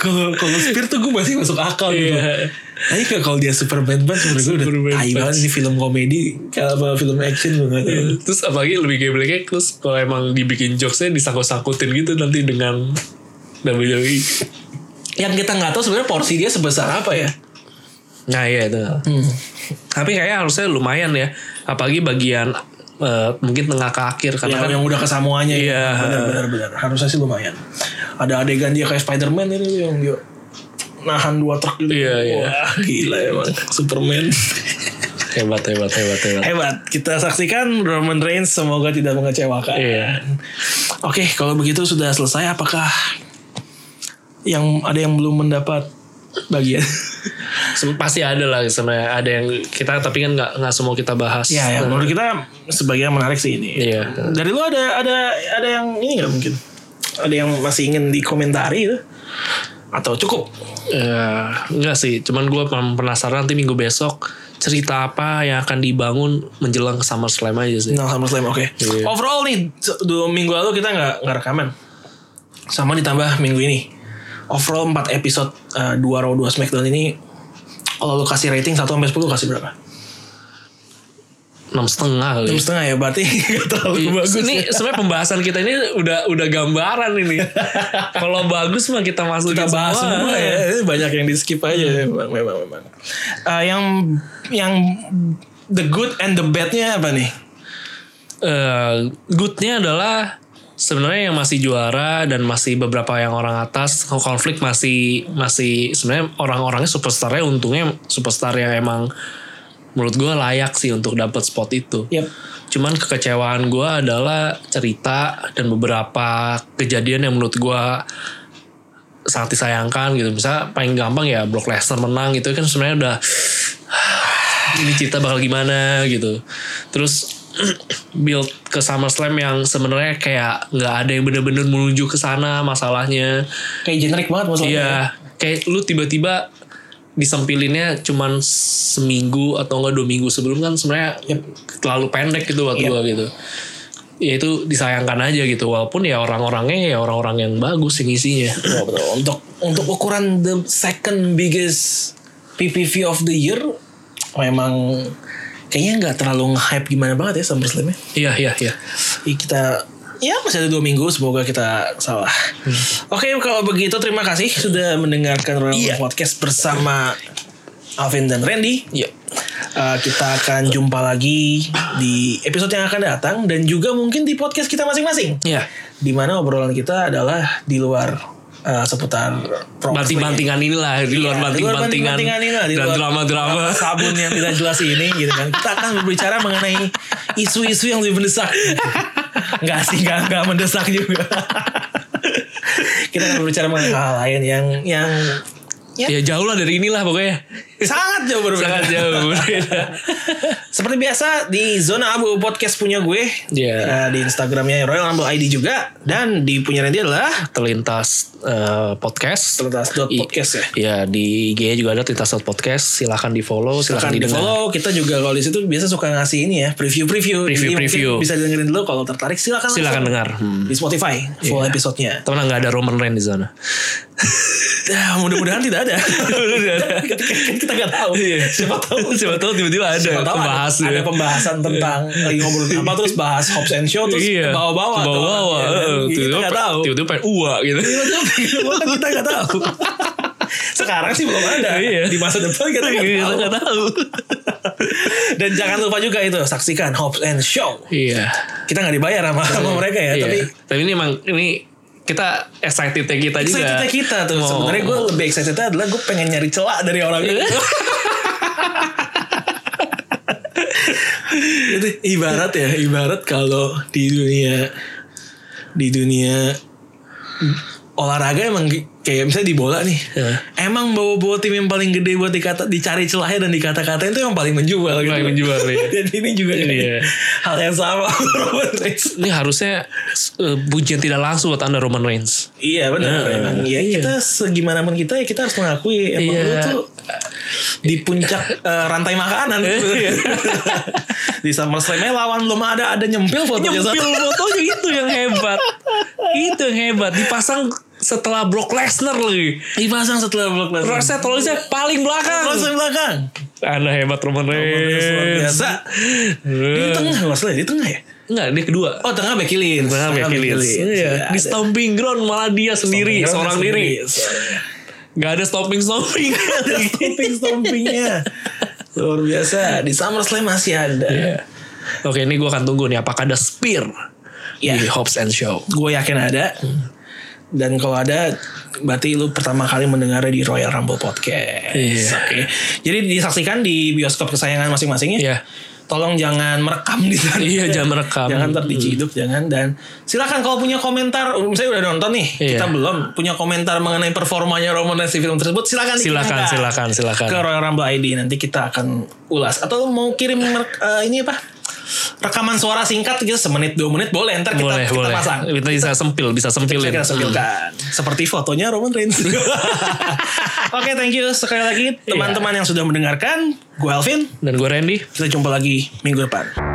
Speaker 1: Kalau kalau Spear tuh gue masih masuk akal gitu
Speaker 2: Iya.
Speaker 1: Tapi kalau- kalau dia Superman banget Menurut gue udah tai
Speaker 2: Superman banget.
Speaker 1: banget Iya. Ini film komedi Kalau sama film action gue nggak tahu.
Speaker 2: Terus apalagi lebih gebleknya terus kalau emang dibikin jokesnya disangkut-sangkutin gitu nanti dengan E. WWE.
Speaker 1: Yang kita nggak tahu sebenarnya porsi dia sebesar apa ya
Speaker 2: Nah iya itu. Tapi kayaknya harusnya lumayan ya. Apalagi bagian eh, mungkin tengah ke akhir
Speaker 1: Yang,
Speaker 2: karena kan
Speaker 1: Iya, yang udah ke Samoanya
Speaker 2: Iya.
Speaker 1: ya. Benar benar benar. Harusnya sih lumayan. Ada adegan dia kayak Spider-Man ini tuh yang dia nahan dua truk gitu.
Speaker 2: Iya, iya.
Speaker 1: Wah, gila emang Superman.
Speaker 2: hebat hebat hebat hebat.
Speaker 1: Hebat. Kita saksikan Roman Reigns semoga tidak mengecewakan.
Speaker 2: Iya.
Speaker 1: Oke, kalau begitu sudah selesai apakah yang ada yang belum mendapat bagian?
Speaker 2: Sem- Pasti ada lah sebenarnya ada yang kita tapi kan nggak nggak semua kita bahas.
Speaker 1: ya, ya, menurut kita sebagian menarik sih ini.
Speaker 2: Iya.
Speaker 1: Dari lu ada ada ada yang ini nggak mungkin? Ada yang masih ingin dikomentari gitu? Atau cukup?
Speaker 2: Ya, enggak sih, cuman gue penasaran nanti minggu besok cerita apa yang akan dibangun menjelang ke SummerSlam aja sih.
Speaker 1: Final SummerSlam Nah, oke.
Speaker 2: Iya.
Speaker 1: Overall nih se- dua minggu lalu kita nggak nggak rekaman. Sama ditambah minggu ini. Overall 4 episode eh, 2 Raw 2 Smackdown ini kalau lu kasih rating 1 sampai 10 kasih berapa?
Speaker 2: Iya. enam setengah kali.
Speaker 1: 6 setengah ya berarti nggak terlalu
Speaker 2: Iya.
Speaker 1: bagus. ya.
Speaker 2: Ini sebenarnya pembahasan kita ini udah udah gambaran ini. Kalau bagus mah kita masukin
Speaker 1: kita bahas semua ya. Hmm. Ini Banyak yang di skip aja memang memang memang. Eh, yang yang the good and the badnya apa nih?
Speaker 2: Eh, goodnya adalah sebenarnya yang masih juara dan masih beberapa yang orang atas konflik masih masih sebenarnya orang-orangnya superstarnya untungnya superstar yang emang menurut gue layak sih untuk dapat spot itu.
Speaker 1: Yap.
Speaker 2: Cuman kekecewaan gue adalah cerita dan beberapa kejadian yang menurut gue sangat disayangkan gitu. Misalnya paling gampang ya Brock Lesnar menang gitu kan sebenarnya udah ini cerita bakal gimana gitu. Terus build ke SummerSlam yang sebenarnya kayak nggak ada yang bener-bener menuju ke sana masalahnya.
Speaker 1: Kayak generik banget masalahnya.
Speaker 2: Iya, kayak lu tiba-tiba disempilinnya cuman seminggu atau enggak dua minggu sebelum kan sebenarnya terlalu pendek gitu buat
Speaker 1: Yep.
Speaker 2: gua gitu. Ya itu disayangkan aja gitu walaupun ya orang-orangnya ya orang-orang yang bagus yang isinya.
Speaker 1: Betul, betul. Untuk untuk ukuran the second biggest PPV of the year memang kayaknya nggak terlalu nge-hype gimana banget ya SummerSlam ya.
Speaker 2: Iya, iya, iya.
Speaker 1: Jadi kita ya masih ada dua minggu semoga kita salah. Oke kalau begitu terima kasih sudah mendengarkan Royal
Speaker 2: Iya.
Speaker 1: Podcast bersama Alvin dan Randy.
Speaker 2: Iya.
Speaker 1: Eh, kita akan jumpa lagi di episode yang akan datang dan juga mungkin di podcast kita masing-masing.
Speaker 2: Iya.
Speaker 1: Di mana obrolan kita adalah di luar eh, seputar pro wrestling.
Speaker 2: Banting-bantingan inilah di
Speaker 1: Iya,
Speaker 2: luar
Speaker 1: di luar
Speaker 2: banting-bantingan
Speaker 1: banting-bantingan inilah, di
Speaker 2: dan
Speaker 1: luar-
Speaker 2: drama-drama.
Speaker 1: sabun yang tidak jelas ini gitu kan kita akan berbicara mengenai isu-isu yang lebih mendesak nggak sih nggak nggak mendesak juga kita akan berbicara mengenai hal lain yang yang
Speaker 2: Ya jauh lah dari inilah pokoknya.
Speaker 1: sangat jauh berbeda
Speaker 2: Sangat jauh.
Speaker 1: seperti biasa di zona abu podcast punya gue
Speaker 2: Iya.
Speaker 1: Eh, di instagramnya Royal Rumble ID juga dan di punya dia adalah
Speaker 2: Terlintas eh, podcast.
Speaker 1: terlintas.podcast ya
Speaker 2: Ya di IG juga ada Tinta Slot Podcast. Silahkan di follow,
Speaker 1: Silahkan
Speaker 2: silahkan,
Speaker 1: di
Speaker 2: didengar.
Speaker 1: follow kita juga kalau di situ biasa suka ngasih ini ya preview preview
Speaker 2: Preview-preview.
Speaker 1: bisa dengerin dulu kalau tertarik silakan langsung.
Speaker 2: Silahkan dengar. Hmm.
Speaker 1: di Spotify full episode-nya
Speaker 2: Temen nggak ada Roman Reigns di sana.
Speaker 1: Dah, Ah, mudah-mudahan tidak ada
Speaker 2: Tidak ada.
Speaker 1: kita nggak tahu siapa tahu
Speaker 2: Siapa tahu tiba-tiba Iya. ada
Speaker 1: Iya. siapa tahu ada,
Speaker 2: pembahas
Speaker 1: ada
Speaker 2: ya.
Speaker 1: pembahasan tentang lagi ngobrolin apa terus bahas Hobbs and Show terus
Speaker 2: Iya.
Speaker 1: bawa-bawa tuh
Speaker 2: Bawa-bawa.
Speaker 1: orangnya, kan?
Speaker 2: eh,
Speaker 1: kita nggak
Speaker 2: Tiba-tiba
Speaker 1: tahu Iya,
Speaker 2: tiba-tiba pengen uak gitu.
Speaker 1: kita nggak tahu sekarang sih belum ada
Speaker 2: Iya.
Speaker 1: di masa depan kita nggak
Speaker 2: Kita
Speaker 1: tahu
Speaker 2: Iya, nggak tahu.
Speaker 1: dan jangan lupa juga itu saksikan Hobbs and Show
Speaker 2: Iya.
Speaker 1: kita nggak dibayar sama, sama mereka ya
Speaker 2: Iya.
Speaker 1: tapi
Speaker 2: tapi ini emang ini kita excited kita juga.
Speaker 1: excitednya kita tuh
Speaker 2: Mau-
Speaker 1: sebenarnya gue lebih excitednya adalah gue pengen nyari celah dari orang
Speaker 2: Iya.
Speaker 1: itu Itu ibarat ya ibarat kalau di dunia di dunia olahraga emang gi- kayak misalnya di bola nih.
Speaker 2: Heeh.
Speaker 1: Emang bawa-bawa tim yang paling gede buat dikata dicari celahnya dan dikata-katain itu yang paling menjual gitu.
Speaker 2: Paling menjual, iya.
Speaker 1: Dan ini juga kayak
Speaker 2: Iya.
Speaker 1: hal yang sama Roman Reigns.
Speaker 2: Ini harusnya eh, pujian tidak langsung buat anda Roman Reigns.
Speaker 1: Iya
Speaker 2: Nah,
Speaker 1: benar. emang. Ya kita segimanapun kita ya kita harus mengakui emang
Speaker 2: Iya.
Speaker 1: lu tuh eh, di puncak eh, rantai makanan.
Speaker 2: Iya.
Speaker 1: di SummerSlam eh, lawan belum ada ada nyempil fotonya satu.
Speaker 2: Nyempil fotonya itu yang hebat. itu yang hebat. Dipasang setelah Brock Lesnar lagi.
Speaker 1: Dipasang setelah Brock Lesnar.
Speaker 2: Terusnya tulisnya paling
Speaker 1: Terus
Speaker 2: belakang.
Speaker 1: dari belakang.
Speaker 2: Anda hebat Roman
Speaker 1: Reigns luar
Speaker 2: Reigns.
Speaker 1: biasa. Di tengah maksudnya di tengah ya.
Speaker 2: Enggak, dia kedua.
Speaker 1: Oh tengah Becky Lynch.
Speaker 2: Benar Becky Lynch. Iya. Di stomping ground malah dia sendiri, seorang diri. Gak ada stomping stomping.
Speaker 1: Stomping stompingnya. Luar biasa. Di SummerSlam masih ada.
Speaker 2: Iya. Oke, ini gue akan tunggu nih apakah ada spear
Speaker 1: Iya.
Speaker 2: di Hobbs and Show.
Speaker 1: Gue yakin ada. Dan kalau ada, berarti lu pertama kali mendengarnya di Royal Rumble Podcast.
Speaker 2: Iya.
Speaker 1: Oke. Jadi disaksikan di bioskop kesayangan masing-masing ya.
Speaker 2: Iya.
Speaker 1: Tolong jangan merekam di sana.
Speaker 2: Iya, jangan merekam. Hmm.
Speaker 1: Jangan terdiciduk, jangan dan silakan kalau punya komentar, misalnya udah nonton nih,
Speaker 2: Iya.
Speaker 1: kita belum punya komentar mengenai performanya Roman Reigns di film tersebut, silakan
Speaker 2: Silakan,
Speaker 1: dikirimkan
Speaker 2: silakan, silakan.
Speaker 1: ke Royal Rumble ID nanti kita akan ulas atau mau kirim mer- eh, ini apa? Rekaman suara singkat gitu semenit dua menit boleh ntar kita
Speaker 2: boleh,
Speaker 1: kita
Speaker 2: boleh. Hmm.
Speaker 1: pasang.
Speaker 2: Kita bisa sempil, bisa sempilin.
Speaker 1: Kita sempilkan seperti fotonya Roman Reigns. Oke, thank you sekali
Speaker 2: Iya.
Speaker 1: lagi teman-teman yang sudah mendengarkan. Gue Alvin,
Speaker 2: Dan gue Randy.
Speaker 1: kita jumpa lagi minggu depan.